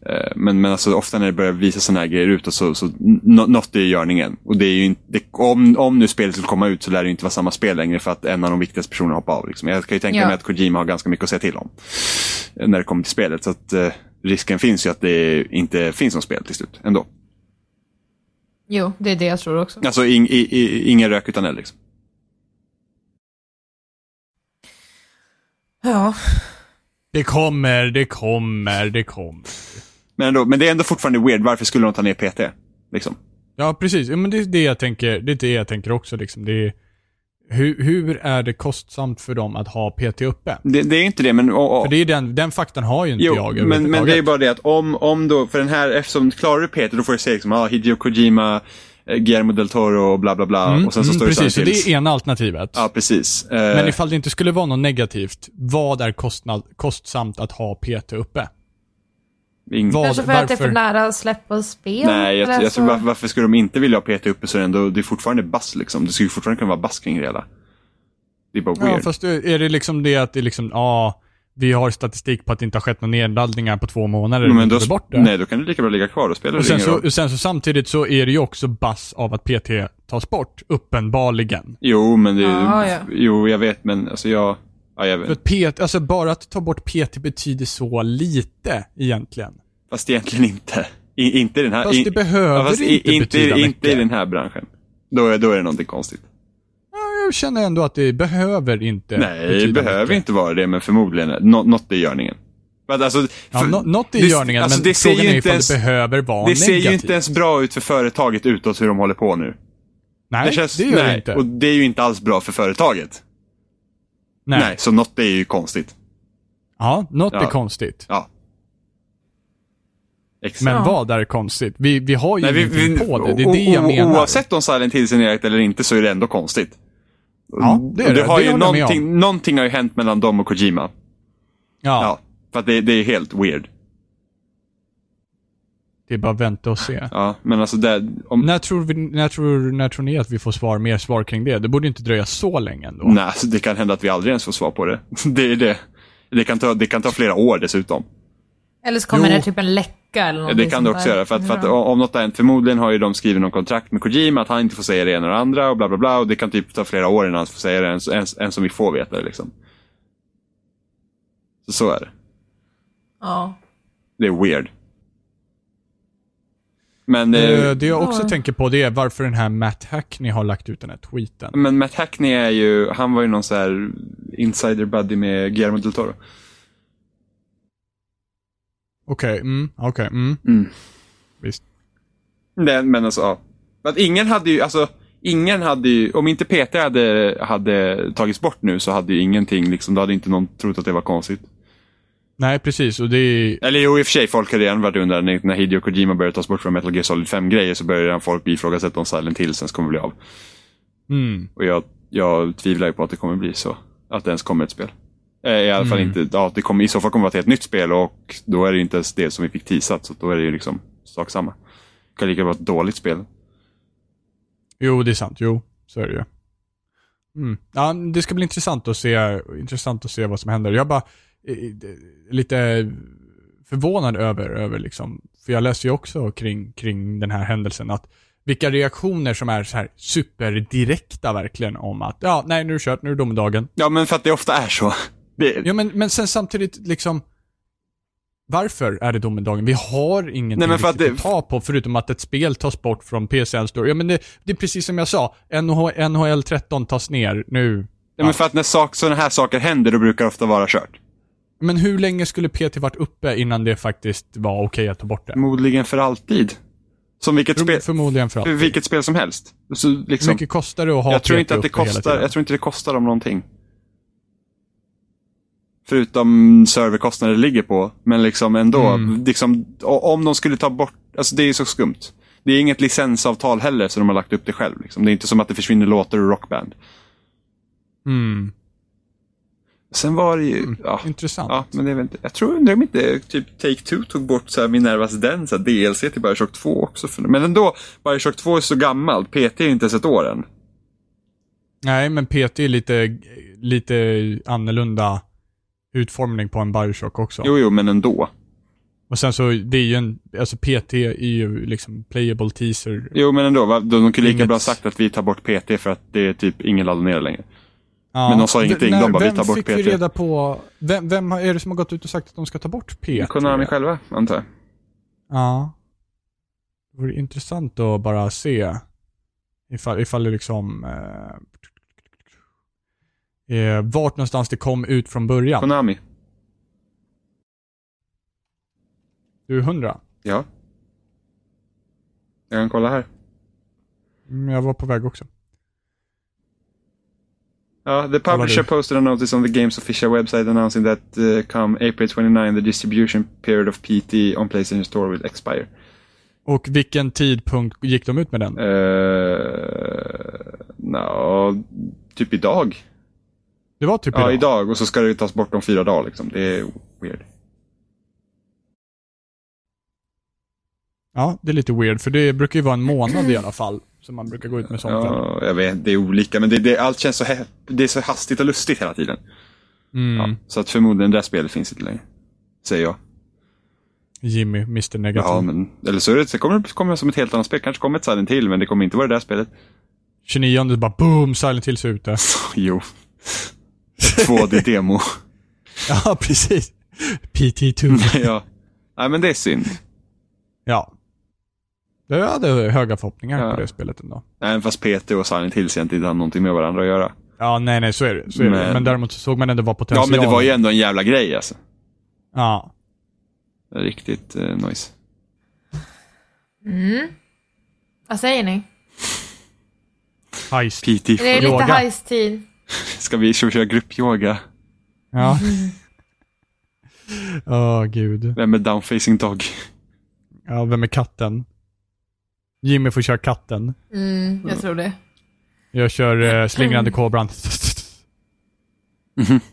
Speaker 3: Eh, Men, men alltså, ofta när det börjar visa sådana här grejer utåt så, så n- nå- något är i görningen. Och det är ju inte, det, om, om nu spelet skulle komma ut så lär det ju inte vara samma spel längre för att en av de viktigaste personerna hoppar av. Liksom. Jag kan ju tänka
Speaker 2: Ja.
Speaker 3: mig att Kojima har ganska mycket att säga till om eh, när det kommer till spelet. Så att, eh, risken finns ju att det inte finns något spel till slut ändå.
Speaker 2: Jo, det är det jag tror också.
Speaker 3: Alltså ing, i, i, ingen rök utan eld. Liksom.
Speaker 2: Ja.
Speaker 1: Det kommer, det kommer, det kommer.
Speaker 3: Men, ändå, men det är ändå fortfarande weird. Varför skulle de ta ner PT? Liksom?
Speaker 1: Ja, precis. Ja, men det är det jag tänker, det är det jag tänker också liksom. Det är, hur, hur är det kostsamt för dem att ha PT uppe?
Speaker 3: Det, det är ju inte det, men... och- och-
Speaker 1: För det är den, den faktan har ju inte
Speaker 3: Jo,
Speaker 1: jag
Speaker 3: men, men
Speaker 1: överhuvudtaget.
Speaker 3: det är ju bara det att om, om då, för den här, eftersom klarar du Peter, då får du säga liksom, ah, Hideo Kojima, eh, Guillermo del Toro och bla bla bla. och sen så står
Speaker 1: Mm, precis, så
Speaker 3: det
Speaker 1: det
Speaker 3: Silent Hills.
Speaker 1: är ena alternativet.
Speaker 3: Ja, precis. Eh,
Speaker 1: Men ifall det inte skulle vara något negativt, vad är kostnad, kostsamt att ha PT uppe?
Speaker 3: ing-
Speaker 1: Vad,
Speaker 2: Kanske för att det är för nära att släppa spel?
Speaker 3: Nej, jag,
Speaker 2: eller
Speaker 3: jag
Speaker 2: så.
Speaker 3: tror, varför, varför skulle de inte vilja ha Peter uppe så är det ändå, det är fortfarande bass liksom. Det skulle ju fortfarande kunna vara bass kring det hela. Det är bara
Speaker 1: Ja,
Speaker 3: weird.
Speaker 1: fast är det liksom det att det liksom, ja, vi har statistik på att det inte har skett några nedladdningar på två månader.
Speaker 3: men
Speaker 1: vi
Speaker 3: då,
Speaker 1: tar bort det.
Speaker 3: nej, då kan det lika bra ligga kvar. Då spelar
Speaker 1: och
Speaker 3: det
Speaker 1: sen
Speaker 3: ingen
Speaker 1: så,
Speaker 3: roll.
Speaker 1: och sen så samtidigt så är det ju också bass av att PT tas bort, uppenbarligen.
Speaker 3: Jo, men det,
Speaker 2: Ja, ja.
Speaker 3: jo, jag vet, men alltså jag, ja, jag
Speaker 1: För
Speaker 3: vet.
Speaker 1: att PT, alltså bara att ta bort PT betyder så lite egentligen.
Speaker 3: Fast egentligen inte. I, inte i den här.
Speaker 1: Fast
Speaker 3: i-
Speaker 1: det behöver
Speaker 3: Ja, fast i-
Speaker 1: inte
Speaker 3: inte,
Speaker 1: betyda
Speaker 3: i-
Speaker 1: mycket.
Speaker 3: inte i den här branschen. Då är, då är det någonting konstigt.
Speaker 1: Ja, Jag känner ändå att det behöver inte
Speaker 3: Nej, det
Speaker 1: betyda
Speaker 3: behöver
Speaker 1: mycket.
Speaker 3: inte vara det, men förmodligen. nå- Något i görningen. Men Alltså,
Speaker 1: Ja,
Speaker 3: för-
Speaker 1: nå- något i
Speaker 3: det-
Speaker 1: görningen,
Speaker 3: alltså,
Speaker 1: men
Speaker 3: det ser
Speaker 1: frågan
Speaker 3: ju
Speaker 1: är
Speaker 3: inte
Speaker 1: ifall
Speaker 3: ens-
Speaker 1: det behöver vara
Speaker 3: Det ser ju
Speaker 1: negativt.
Speaker 3: inte ens bra ut för företaget utåt hur de håller på nu.
Speaker 1: nej, det,
Speaker 3: känns-
Speaker 1: gör
Speaker 3: nej,
Speaker 1: det inte.
Speaker 3: Och det är ju inte alls bra för företaget.
Speaker 1: nej.
Speaker 3: Nej, så något är ju konstigt.
Speaker 1: Ja, något
Speaker 3: Ja.
Speaker 1: är konstigt.
Speaker 3: Ja. Exakt.
Speaker 1: Men vad är konstigt? Vi, vi har ju
Speaker 3: Nej, vi,
Speaker 1: ingenting
Speaker 3: vi,
Speaker 1: på det, det är det jag
Speaker 3: o- o-
Speaker 1: menar.
Speaker 3: Oavsett om Silent Hill signerat eller inte så är det ändå konstigt.
Speaker 1: Ja, det är det.
Speaker 3: har
Speaker 1: Det
Speaker 3: ju
Speaker 1: håller jag med
Speaker 3: någonting, någonting har ju hänt mellan dem och Kojima.
Speaker 1: Ja,
Speaker 3: Ja. för att det, det är helt weird.
Speaker 1: det är bara vänta och se.
Speaker 3: Ja, men alltså det, om, nej.
Speaker 1: När, tror vi, när, tror, när tror ni att vi får svar, mer svar kring det? Det borde inte dröja så länge ändå.
Speaker 3: alltså det kan hända att vi aldrig ens får svar på det. Det är det. Det kan ta, det kan ta flera år dessutom.
Speaker 2: Eller så kommer
Speaker 1: Jo.
Speaker 2: det typ en läcka eller
Speaker 3: Ja,
Speaker 2: någonting
Speaker 3: det kan
Speaker 2: sånt
Speaker 3: det också
Speaker 2: där.
Speaker 3: göra. För att, för att
Speaker 2: Ja.
Speaker 3: o- om något har hänt, förmodligen har ju de skrivit någon kontrakt med Kojima att han inte får säga det ena och det andra och bla bla bla. Och det kan typ ta flera år innan han får säga det, ens, ens, ens som vi får veta det liksom. Så, så är det.
Speaker 2: Ja.
Speaker 3: Det är weird. Men,
Speaker 1: Eh,
Speaker 3: eh,
Speaker 1: Det jag också
Speaker 2: Ja.
Speaker 1: tänker på det är varför den här Matt Hackney har lagt ut den här tweeten.
Speaker 3: men Matt Hackney är ju, han var ju någon så här insider buddy med Guillermo del Toro.
Speaker 1: Okej, mm, okej, mm.
Speaker 3: Mm.
Speaker 1: Visst.
Speaker 3: Nej, men alltså, ja. För Att ingen hade ju, alltså, ingen hade ju, om inte PT hade, hade tagits bort nu så hade ju ingenting, liksom, då hade inte någon trott att det var konstigt.
Speaker 1: Nej, precis. Och det är...
Speaker 3: Eller jo, i och för sig, folk hade redan varit undra när när Hideo Kojima började tas bort från Metal Gear Solid 5-grejer så började redan folk ifrågasätta om Silent Hill sen kommer bli av.
Speaker 1: Mm,
Speaker 3: Och jag, jag tvivlar ju på att det kommer bli så. Att det ens kommer ett spel. Eh, I alla fall
Speaker 1: Mm.
Speaker 3: inte, ja, det kommer, i så fall kommer det vara ett helt nytt spel och då är det ju inte ens det som vi fick teasat, så då är det ju liksom sak samma. Det kan lika gärna vara ett dåligt spel.
Speaker 1: jo, det är sant. Jo, så är det ju. Mm. Ja, det ska bli intressant att se, intressant att se vad som händer. Jag bara eh, eh, lite förvånad över, över liksom, för jag läser ju också kring, kring den här händelsen att vilka reaktioner som är så här superdirekta verkligen om att ja, nej nu är det kört, nu är det domedagen.
Speaker 3: Ja, men för att det ofta är så. Det,
Speaker 1: Ja, men, men sen samtidigt liksom, varför är det domedagen? Vi har ingenting
Speaker 3: Nej, men för att
Speaker 1: riktigt att,
Speaker 3: det-
Speaker 1: ta på förutom att ett spel tas bort från PCN Store. Ja, men det, det är precis som jag sa, NH, NHL 13 tas ner nu.
Speaker 3: ja, men för att när sak, sådana här saker händer, då brukar det ofta vara kört.
Speaker 1: Men hur länge skulle PT varit uppe innan det faktiskt var okej att ta bort det?
Speaker 3: Förmodligen för alltid. Som vilket,
Speaker 1: Förm-
Speaker 3: spel,
Speaker 1: Förmodligen för allt.
Speaker 3: för vilket spel som helst. Så,
Speaker 1: Hur
Speaker 3: liksom,
Speaker 1: mycket kostar det att ha
Speaker 3: jag tror
Speaker 1: PT
Speaker 3: inte att det
Speaker 1: uppe hela
Speaker 3: kostar,
Speaker 1: tiden?
Speaker 3: jag tror inte det kostar dem någonting. Förutom serverkostnader det ligger på. Men liksom ändå,
Speaker 1: Mm.
Speaker 3: liksom, o- om de skulle ta bort, alltså det är ju så skumt. Det är inget licensavtal heller, så de har lagt upp det själv. Liksom. Det är inte som att det försvinner låtar ur rockband.
Speaker 1: Mm,
Speaker 3: Sen var det ju, ja,
Speaker 1: intressant.
Speaker 3: ja, men det är väl inte, jag tror undrar om inte typ Take-Two tog bort så här Minervas den, så här DLC till Bioshock 2 också. För, men ändå, Bioshock 2 är så gammalt, PT är ju inte ens ett år än.
Speaker 1: Nej, men PT är lite, lite annorlunda utformning på en Bioshock också.
Speaker 3: Jo, jo, men ändå.
Speaker 1: Och sen så, det är ju en, alltså PT är ju liksom playable teaser.
Speaker 3: Jo, men ändå. va? De, de kunde lika
Speaker 1: Inget-
Speaker 3: bra sagt att vi tar bort PT för att det är typ ingen laddar ner det längre.
Speaker 1: Ja.
Speaker 3: men de sa ingenting, de bara, vi
Speaker 1: vem
Speaker 3: tar bort
Speaker 1: fick
Speaker 3: PT.
Speaker 1: vi reda på, vem, vem har- är det som har gått ut och sagt att de ska ta bort PT?
Speaker 3: Konami själva, antar jag.
Speaker 1: Ja. Det vore intressant att bara se ifall, ifall det liksom, eh, eh, vart någonstans det kom ut från början.
Speaker 3: Konami.
Speaker 1: Du är hundra?
Speaker 3: Ja. Jag kan kolla här.
Speaker 1: Mm, jag var på väg också.
Speaker 3: Ja, the publisher
Speaker 1: du.
Speaker 3: posted a notice on the game's official website announcing that uh, come April 29 the distribution period of PT on Playstation Store will expire.
Speaker 1: Och vilken tidpunkt gick de ut med den?
Speaker 3: Uh, no, typ idag.
Speaker 1: Det var typ
Speaker 3: Ja, idag. Och så ska det ju tas bort om fyra dagar liksom. Det är weird.
Speaker 1: Ja, det är lite weird, för det brukar ju vara en månad i alla fall, som man brukar gå ut med sånt. väl?
Speaker 3: Ja, jag vet, det är olika, men det, det, allt känns så, hä- det är så hastigt och lustigt hela tiden.
Speaker 1: Mm.
Speaker 3: Ja, så att förmodligen det där spelet finns inte längre. Säger jag.
Speaker 1: Jimmy, Mr Negativ.
Speaker 3: Ja, men, eller så, är det, så kommer det kommer det som ett helt annat spel. Kanske kommer ett Silent Hill, men det kommer inte vara det där spelet.
Speaker 1: 29 bara boom, Silent Hills är ute.
Speaker 3: Jo. 2D-demo.
Speaker 1: ja, precis. PT2.
Speaker 3: ja. Nej, men det är synd.
Speaker 1: ja. Jag hade höga förhoppningar
Speaker 3: Ja.
Speaker 1: på det spelet ändå.
Speaker 3: Även fast PT och Silent Hills egentligen inte har någonting med varandra att göra.
Speaker 1: Ja, nej, nej, så är det. Så är men... det.
Speaker 3: Men-
Speaker 1: Men däremot så såg man ändå vad
Speaker 3: Ja,
Speaker 1: potentialen
Speaker 3: men det var ju ändå en jävla grej alltså.
Speaker 1: Ja.
Speaker 3: Riktigt eh, nice.
Speaker 2: Vad säger ni?
Speaker 1: Heist.
Speaker 3: PT.
Speaker 2: Det är lite
Speaker 1: Yoga.
Speaker 2: heist-tid.
Speaker 3: Ska vi, ska vi köra gruppyoga?
Speaker 1: Ja. Åh, gud.
Speaker 3: Vem är downfacing dog?
Speaker 1: Ja, vem är katten? Jimmy får köra katten.
Speaker 4: Mm, jag tror det.
Speaker 1: Jag kör eh, slingrande kobran.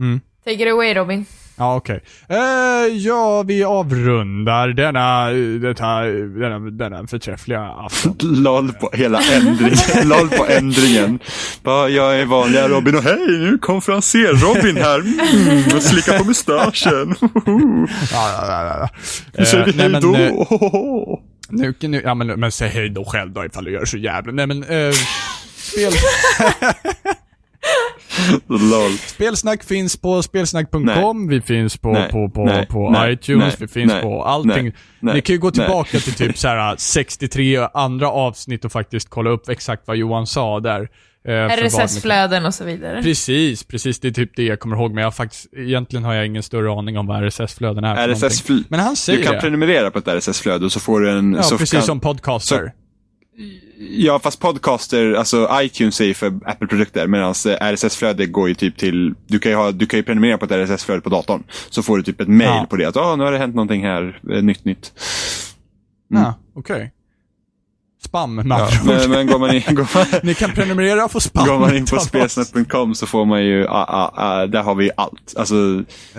Speaker 1: Mm.
Speaker 2: Take it away Robin.
Speaker 1: Ja, okej. Eh, ja, vi avrundar denna, denna, denna, denna förträffliga afton.
Speaker 3: LOL på hela ändringen. LOL på ändringen. Bara, jag är vanliga Robin och hej, nu är konferenser-Robin här. Mm, och slickar på mustaschen.
Speaker 1: Ja, ja, ja, ja.
Speaker 3: Nu säger vi
Speaker 1: Eh, nej,
Speaker 3: hej
Speaker 1: men,
Speaker 3: då.
Speaker 1: eh,
Speaker 3: Ohoho.
Speaker 1: Nu, nu, ja, men, men säg hej då själv då ifall du gör så jävla... Nej men, eh, spel,
Speaker 3: LOL.
Speaker 1: spelsnack finns på spelsnack.com, vi finns på,
Speaker 3: Nej.
Speaker 1: på, på,
Speaker 3: Nej.
Speaker 1: på
Speaker 3: Nej.
Speaker 1: iTunes,
Speaker 3: Nej.
Speaker 1: vi finns
Speaker 3: Nej.
Speaker 1: på allting.
Speaker 3: Nej. Nej.
Speaker 1: Ni kan ju gå
Speaker 3: Nej.
Speaker 1: tillbaka till typ så här 63 andra avsnitt och faktiskt kolla upp exakt vad Johan sa där. eh, för vad ni-
Speaker 2: RSS-flöden och så vidare.
Speaker 1: Precis, precis. Det är typ det jag kommer ihåg, men jag har faktiskt, egentligen har jag ingen större aning om vad RSS-flöden är för
Speaker 3: RSS
Speaker 1: någonting. Men han
Speaker 3: du
Speaker 1: säger
Speaker 3: kan
Speaker 1: det.
Speaker 3: prenumerera på ett RSS-flöde och så får du en...
Speaker 1: Ja,
Speaker 3: så mm.
Speaker 1: precis
Speaker 3: kan,
Speaker 1: som podcaster.
Speaker 3: Ja, fast podcaster, alltså iTunes är ju för Apple-produkter eh, medan RSS-flöde går ju typ till... Du kan ju, ha, du kan ju prenumerera på ett RSS-flöde på datorn. Så får du typ ett mail
Speaker 1: Ja.
Speaker 3: på det att ah, nu har det hänt någonting här, eh, nytt nytt.
Speaker 1: Ja, okej. Spam, med
Speaker 3: Ja,
Speaker 1: andra ord.
Speaker 3: men, men går man in, går man,
Speaker 1: Ni kan prenumerera och få spam.
Speaker 3: går man in på
Speaker 1: utav oss.
Speaker 3: spelsnack.com så får man ju, ah, ah, ah, där har vi ju allt. Alltså,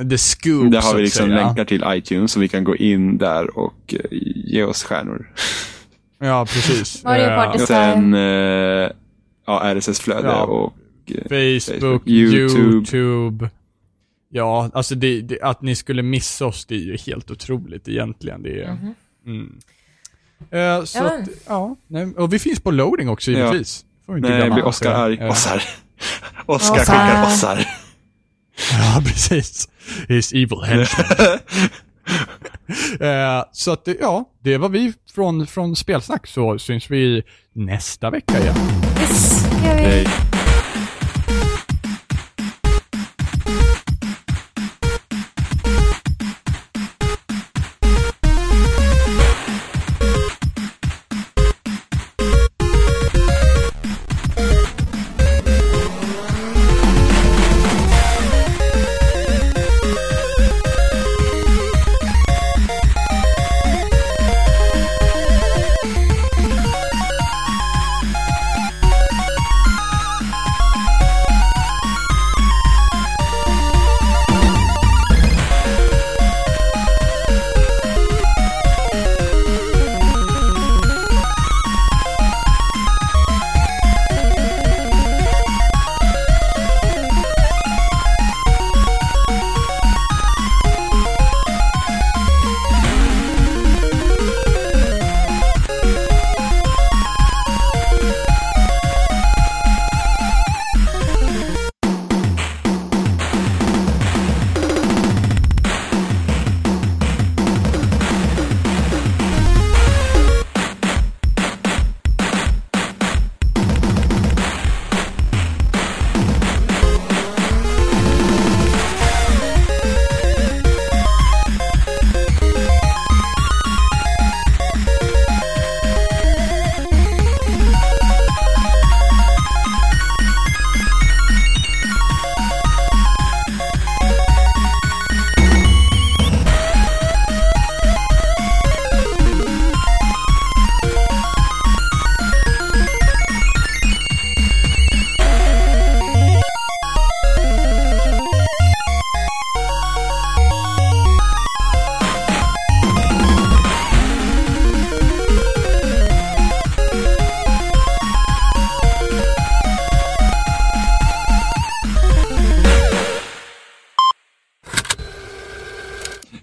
Speaker 1: The Scoop,
Speaker 3: där har
Speaker 1: så
Speaker 3: vi
Speaker 1: att
Speaker 3: liksom
Speaker 1: säga.
Speaker 3: länkar till iTunes så vi kan gå in där och eh, ge oss stjärnor.
Speaker 1: Ja, precis.
Speaker 2: Varje
Speaker 1: Eh,
Speaker 2: party-
Speaker 3: Och sen, eh, ja, RSS-flöde
Speaker 1: Ja.
Speaker 3: och... eh,
Speaker 1: Facebook,
Speaker 3: Facebook,
Speaker 1: YouTube.
Speaker 3: YouTube.
Speaker 1: Ja, alltså det, det, att ni skulle missa oss, det är ju helt otroligt egentligen. Det är, mm. Eh, så
Speaker 2: Mhm. Ja.
Speaker 1: ja. Att, ja. Nej, och vi finns på loading också givetvis. Får vi inte
Speaker 3: Nej,
Speaker 1: glömma.
Speaker 3: blir Oscar arg.
Speaker 1: Eh,
Speaker 3: Ossar. Oskar
Speaker 2: Ossar.
Speaker 3: skickar ossar.
Speaker 1: Ja, precis. His evil henchman. eh, så att, det- ja, det var vi från, från Spelsnack, så syns vi nästa vecka igen.
Speaker 2: Yes, jag vet.
Speaker 3: Nej.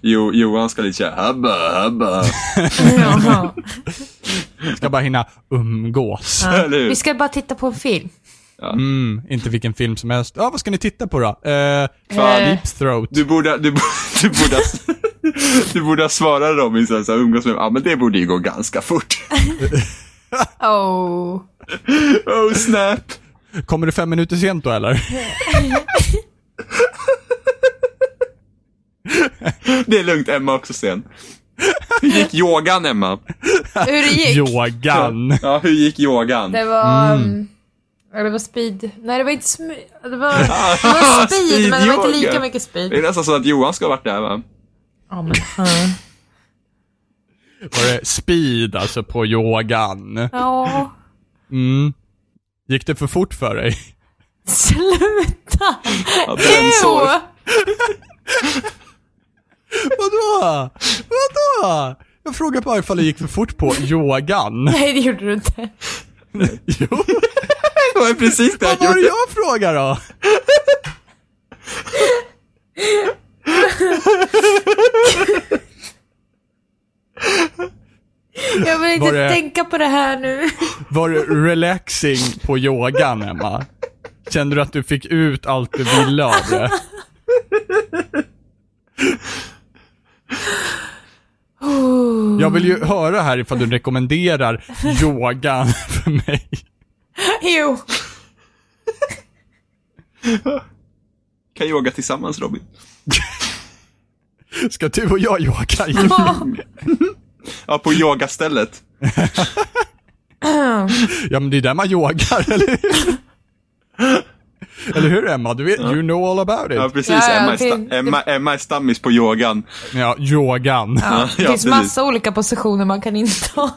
Speaker 3: Jo, Johan ska lite köra habba, habba.
Speaker 2: Jaha.
Speaker 1: Ska bara hinna umgås.
Speaker 3: Eller hur?
Speaker 2: Vi ska bara titta på en film.
Speaker 1: Mm, inte vilken film som helst. Ja, vad ska ni titta på då? Eh,
Speaker 3: Fan,
Speaker 2: Eh,
Speaker 1: Deep Throat.
Speaker 3: Du borde, du, bo- du borde, ha- du borde ha svarat Robin så här, så här, umgås med, ja ah, men det borde ju gå ganska fort.
Speaker 2: Oh.
Speaker 3: Oh snap.
Speaker 1: Kommer du fem minuter sent då eller?
Speaker 3: Det är lugnt, Emma också sen. Hur gick yogan Emma?
Speaker 2: Hur det gick?
Speaker 1: Yogan.
Speaker 3: Ja, hur gick yogan?
Speaker 2: Det var... mm, ja, Det var speed. Nej, det var inte sm- Det var, det var speed, men det var inte
Speaker 3: Speedyoga.
Speaker 2: lika mycket
Speaker 3: Det är
Speaker 2: speed.
Speaker 3: nästan så att Johan ska ha varit där va?
Speaker 2: Ja, men, ja.
Speaker 1: var det speed alltså på yogan.
Speaker 2: Ja.
Speaker 1: Mm. Gick det för fort för dig?
Speaker 2: Sluta!
Speaker 3: Ja, brännsår.
Speaker 2: Ew!
Speaker 1: Vadå? Vadå? Jag frågar bara ifall det gick för fort på yogan.
Speaker 2: Nej, det gjorde du inte.
Speaker 1: Jo,
Speaker 3: Det var precis det
Speaker 1: vad
Speaker 3: jag
Speaker 1: var det
Speaker 3: gjorde.
Speaker 1: jag frågade då?
Speaker 2: Jag vill
Speaker 1: Var
Speaker 2: inte
Speaker 1: det-
Speaker 2: tänka på det här nu.
Speaker 1: Var det relaxing på yogan, Emma? Kände du att du fick ut allt du ville av det? Jag vill
Speaker 3: Mm.
Speaker 1: ju höra här ifall du rekommenderar yogan för mig.
Speaker 2: Jo.
Speaker 3: Kan yoga tillsammans Robin.
Speaker 1: Ska du och jag yoga?
Speaker 3: Ja, på yogastället.
Speaker 1: Ja, men det är där man yogar, eller hur? Eller hur Emma? Du vet, you know all about
Speaker 3: Ja,
Speaker 1: it.
Speaker 3: precis.
Speaker 2: Ja, ja,
Speaker 3: Emma, är sta-
Speaker 2: fin-
Speaker 3: Emma, Emma är stammis på yogan.
Speaker 1: Ja, yogan.
Speaker 3: Ja,
Speaker 2: Det
Speaker 3: ja,
Speaker 2: finns
Speaker 3: precis.
Speaker 2: massa olika positioner man kan inta.
Speaker 1: Vad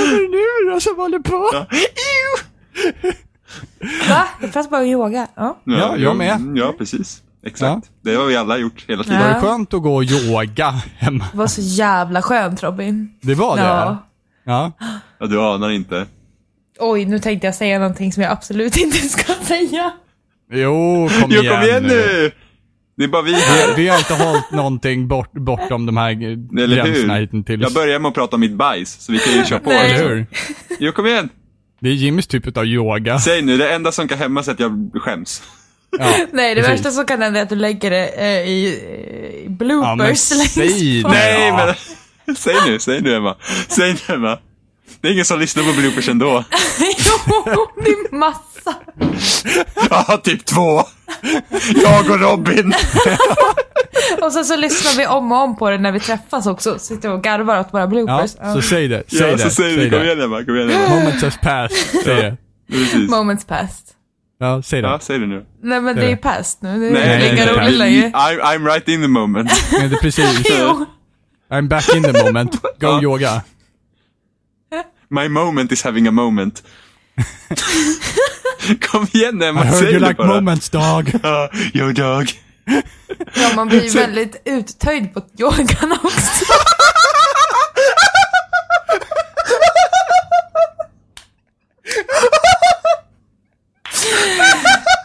Speaker 1: är det nu då som håller på?
Speaker 3: Ja.
Speaker 2: Va? Det fanns bara yoga. Ja.
Speaker 1: Ja, jag med.
Speaker 3: mm, Ja, precis. Exakt. Det har vi alla gjort hela tiden.
Speaker 1: Var
Speaker 2: Ja.
Speaker 1: det skönt att gå och yoga Emma?
Speaker 2: Det var så jävla skönt Robin.
Speaker 1: Det var det?
Speaker 2: Ja.
Speaker 1: Ja.
Speaker 3: Ja, du anar inte.
Speaker 2: Oj, nu tänkte jag säga någonting som jag absolut inte ska säga.
Speaker 1: Jo, kom,
Speaker 3: Jo,
Speaker 1: igen,
Speaker 3: kom igen nu! Det är bara vi här.
Speaker 1: Vi, vi har inte hållit någonting bort, bortom de här g-
Speaker 3: Eller
Speaker 1: gränserna
Speaker 3: hur?
Speaker 1: hittills.
Speaker 3: Jag börjar med att prata om mitt bajs, så vi kan ju köra på.
Speaker 2: Nej.
Speaker 1: Eller hur?
Speaker 3: Jo, kom igen!
Speaker 1: Det är Jimmys typ av yoga.
Speaker 3: Säg nu, det enda som kan hämmas är att jag skäms.
Speaker 1: Ja.
Speaker 2: Nej, det
Speaker 1: Precis.
Speaker 2: värsta som kan hända är att du lägger det eh, i, eh, i
Speaker 1: Ja, men
Speaker 2: bloopers längst
Speaker 1: säg
Speaker 2: bak.
Speaker 1: det.
Speaker 3: Nej,
Speaker 1: Ja.
Speaker 3: men... Säg nu, säg nu Emma. Säg nu Emma. Det är ingen som lyssnar på bloopers ändå.
Speaker 2: Jo, det är massa.
Speaker 3: Ja, typ två. Jag och Robin.
Speaker 2: Och sen så lyssnar vi om och om på det när vi träffas också. Sitter och garvar åt våra
Speaker 1: Ja,
Speaker 2: bloopers. Ja.
Speaker 1: så säg det. Säg
Speaker 3: Ja,
Speaker 1: det.
Speaker 3: så säger vi, kom
Speaker 1: det.
Speaker 3: igen Emma, kom igen Emma.
Speaker 1: Moments has passed. Säg det.
Speaker 3: Precis.
Speaker 2: Moments past.
Speaker 1: Ja, säg
Speaker 3: Ja,
Speaker 1: det.
Speaker 3: säg det nu.
Speaker 2: Nej men det är ju past nu. Det
Speaker 1: Nej,
Speaker 2: är
Speaker 1: nej,
Speaker 2: inga
Speaker 1: nej. Alltså,
Speaker 2: roligt längre.
Speaker 3: I'm, I'm right in the moment.
Speaker 1: Men det är precis.
Speaker 2: Jo.
Speaker 1: I'm back in the moment. Go
Speaker 3: Ja.
Speaker 1: yoga.
Speaker 3: My moment is having a moment. Kom igen
Speaker 1: I
Speaker 3: Emma,
Speaker 1: heard
Speaker 3: säg
Speaker 1: you
Speaker 3: det
Speaker 1: like
Speaker 3: bara.
Speaker 1: moments dog.
Speaker 3: Ja, yo dog.
Speaker 2: Ja, man blir väldigt uttöjd på yogan också.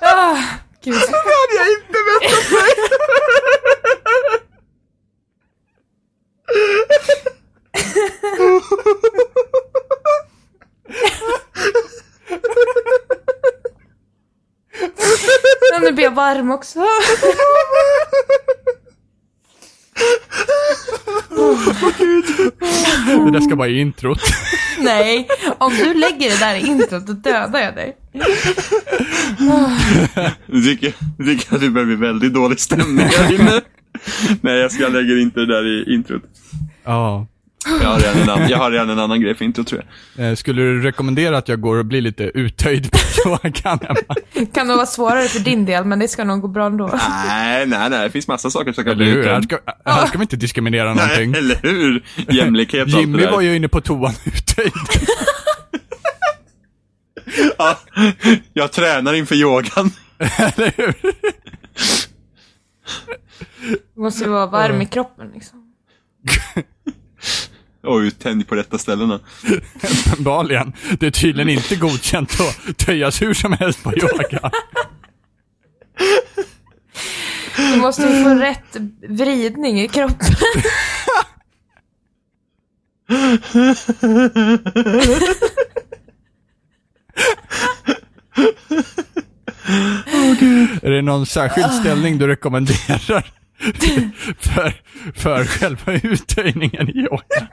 Speaker 2: ah, gud.
Speaker 3: Jag inte väntat mig.
Speaker 2: Men nu blir jag varm också.
Speaker 1: Det där ska vara i introt.
Speaker 2: Nej, om du lägger det där i introt då dödar jag dig.
Speaker 3: Nu tycker jag- nu tycker jag att det börjar bli väldigt dålig stämning här inne. Nej, jag, ska, jag lägger inte det där i introt.
Speaker 1: Ja.
Speaker 3: Jag har, redan en annan, jag har redan en annan grej för intro tror jag.
Speaker 1: Eh, Skulle du rekommendera att jag går och blir lite uttöjd på yogan, Emma?
Speaker 2: Kan nog vara svårare för din del men det ska nog gå bra ändå.
Speaker 3: Nej, nej, nej. Det finns massa saker som kan
Speaker 1: Eller
Speaker 3: bli
Speaker 1: hur? Här
Speaker 3: utredd.
Speaker 1: ska, här ska vi inte diskriminera
Speaker 3: Nej,
Speaker 1: någonting.
Speaker 3: eller hur? Jämlikhet och allt det
Speaker 1: Jimmy
Speaker 3: där.
Speaker 1: var ju inne på toan uttöjd.
Speaker 3: Ja, jag tränar inför yogan.
Speaker 1: Eller hur?
Speaker 2: Du måste ju vara varm i kroppen liksom.
Speaker 3: Oj, tänd på rätta ställena.
Speaker 1: Uppenbarligen. Det är tydligen inte godkänt att töjas hur som helst på yoga.
Speaker 2: Du måste ju få rätt vridning i kroppen.
Speaker 1: Är det någon särskild ställning du rekommenderar för, för själva uttöjningen i yoga?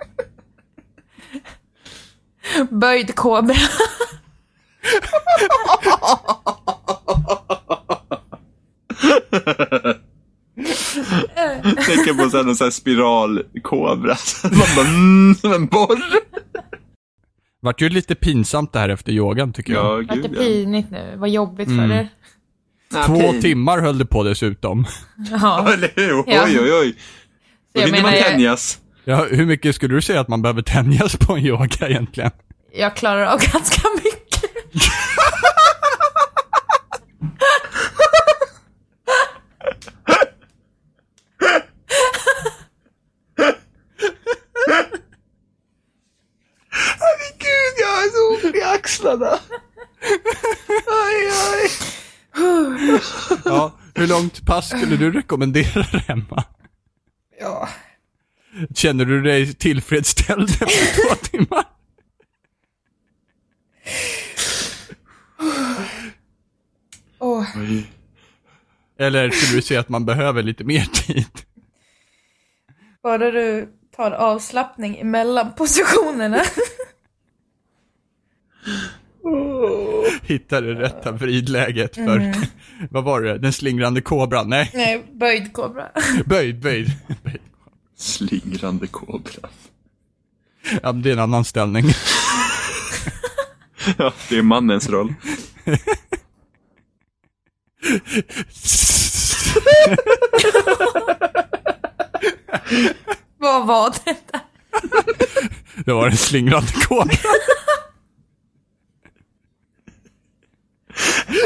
Speaker 2: Böjd kobra.
Speaker 3: Tänker på sen en sån här spiralkobra. Man bara, mm, som en borr.
Speaker 1: Vart ju lite pinsamt det här efter yogan tycker jag.
Speaker 3: Ja,
Speaker 2: Vart det
Speaker 3: gud ja.
Speaker 2: pinigt nu? Vad jobbigt för er.
Speaker 3: Ah,
Speaker 1: Två
Speaker 3: pin.
Speaker 1: timmar höll det på dessutom.
Speaker 2: Ja.
Speaker 3: Eller hur?
Speaker 2: Ja.
Speaker 3: Oj, oj, oj. Då
Speaker 2: jag
Speaker 3: hinner man
Speaker 2: menar, jag-
Speaker 3: tänjas.
Speaker 1: Ja, hur mycket skulle du säga att man behöver tänjas på en yoga egentligen?
Speaker 2: Jag klarar av ganska mycket.
Speaker 3: Herregud, jag har så ont i axlarna. Aj, aj.
Speaker 1: Ja, hur långt pass skulle du rekommendera det, Emma?
Speaker 3: Ja.
Speaker 1: Känner du dig tillfredsställd efter två timmar?
Speaker 2: Åh,
Speaker 1: Eller skulle du säga att man behöver lite mer tid?
Speaker 2: bara du tar avslappning mellan positionerna.
Speaker 1: Hitta det rätta vridläget för, vad var det, den slingrande kobran? Nej,
Speaker 2: Nej, böjd kobra.
Speaker 1: böjd, böjd. böjd.
Speaker 3: Slingrande kobran.
Speaker 1: Ja, men det är en annan ställning.
Speaker 3: Ja, det är mannens roll.
Speaker 2: Vad var det?
Speaker 1: Det var en slingrande kobra.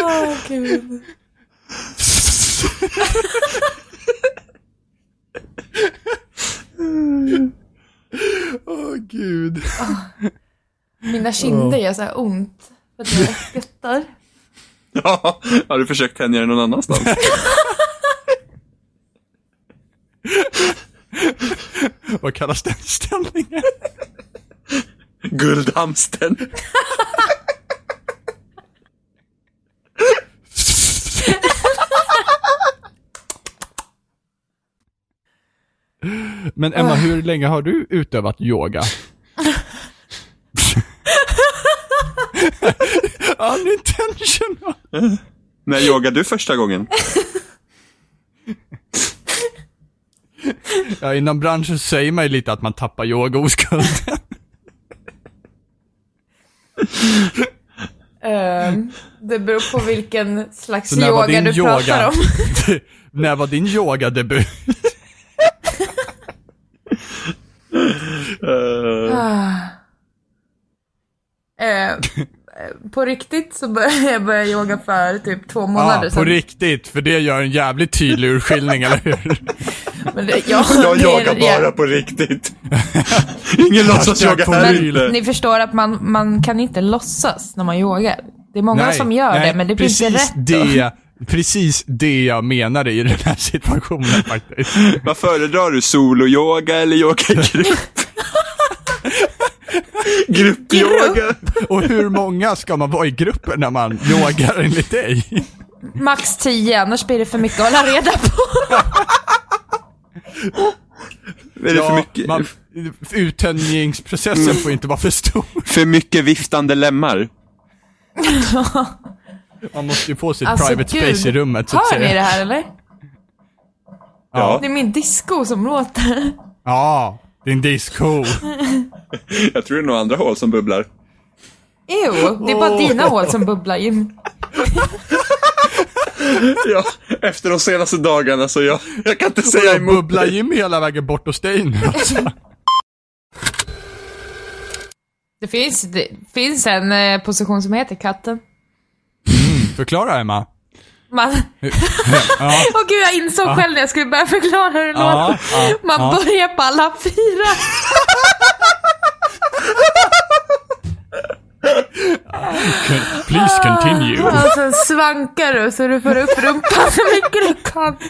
Speaker 2: Åh, gud.
Speaker 1: Åh oh, gud.
Speaker 2: Mina kinder gör så här ont. För att jag skuttar.
Speaker 3: Ja, har du försökt tänja den någon annanstans?
Speaker 1: Vad kallas den ställningen?
Speaker 3: Guldhamsten.
Speaker 1: Men Emma, hur länge har du utövat yoga? Unintentional.
Speaker 3: När yogade du första gången?
Speaker 1: Ja, inom branschen säger man ju lite att man tappar yogaoskulden.
Speaker 2: Ehm, det beror på vilken slags
Speaker 1: Så när var
Speaker 2: yoga
Speaker 1: din
Speaker 2: du pratar
Speaker 1: yoga-
Speaker 2: om.
Speaker 1: När var din yogadebut?
Speaker 3: Eh,
Speaker 2: Ah. Ehm, på riktigt så började jag börja yoga för typ två
Speaker 1: Ja,
Speaker 2: månader
Speaker 1: Ah, på
Speaker 2: sedan.
Speaker 1: riktigt, för det gör en jävligt tydlig urskiljning, eller hur?
Speaker 2: Men det, ja,
Speaker 3: jag
Speaker 2: det är-
Speaker 3: yogar bara på riktigt. Ingen låtsas yoga här
Speaker 1: Men
Speaker 3: inne.
Speaker 2: Ni förstår att man, man kan inte låtsas när man yogar. Det är många som gör
Speaker 1: nej,
Speaker 2: det, men det blir
Speaker 1: precis
Speaker 2: inte rätt. då.
Speaker 1: Det, precis det jag menade i den här situationen faktiskt.
Speaker 3: Vad föredrar du? Solo-yoga eller yoga i grupp? Gruppyoga?
Speaker 1: Och hur många ska man vara i gruppen när man yogar enligt dig?
Speaker 2: Max 10, annars blir det för mycket att hålla reda på.
Speaker 3: Är det för mycket,
Speaker 1: man, uttänjningsprocessen får inte vara för stor.
Speaker 3: för mycket viftande lemmar?
Speaker 1: Man måste ju få sitt
Speaker 2: Alltså,
Speaker 1: private
Speaker 2: gud.
Speaker 1: space i rummet så att
Speaker 2: Hör
Speaker 1: säga.
Speaker 2: ni det här eller?
Speaker 3: Ja.
Speaker 2: Det är min disco som låter.
Speaker 1: Ja, din disco.
Speaker 3: Jag tror det är några andra hål som bubblar.
Speaker 2: Ew, det är bara dina hål som bubblar Jim.
Speaker 3: Ja, efter de senaste dagarna så jag, jag kan inte säga emot.
Speaker 1: Bubbla Jim hela vägen bort hos dig nu alltså.
Speaker 2: Det finns, det finns en eh, position som heter katten.
Speaker 1: Förklara Emma.
Speaker 2: Man... Åh gud, jag insåg själv när jag skulle börja förklara hur det
Speaker 1: Ja,
Speaker 2: låter.
Speaker 1: ja,
Speaker 2: Man
Speaker 1: ja.
Speaker 2: börjar på alla fyra.
Speaker 1: Please continue.
Speaker 2: Och sen svankar du så du får upp rumpan så mycket du kan.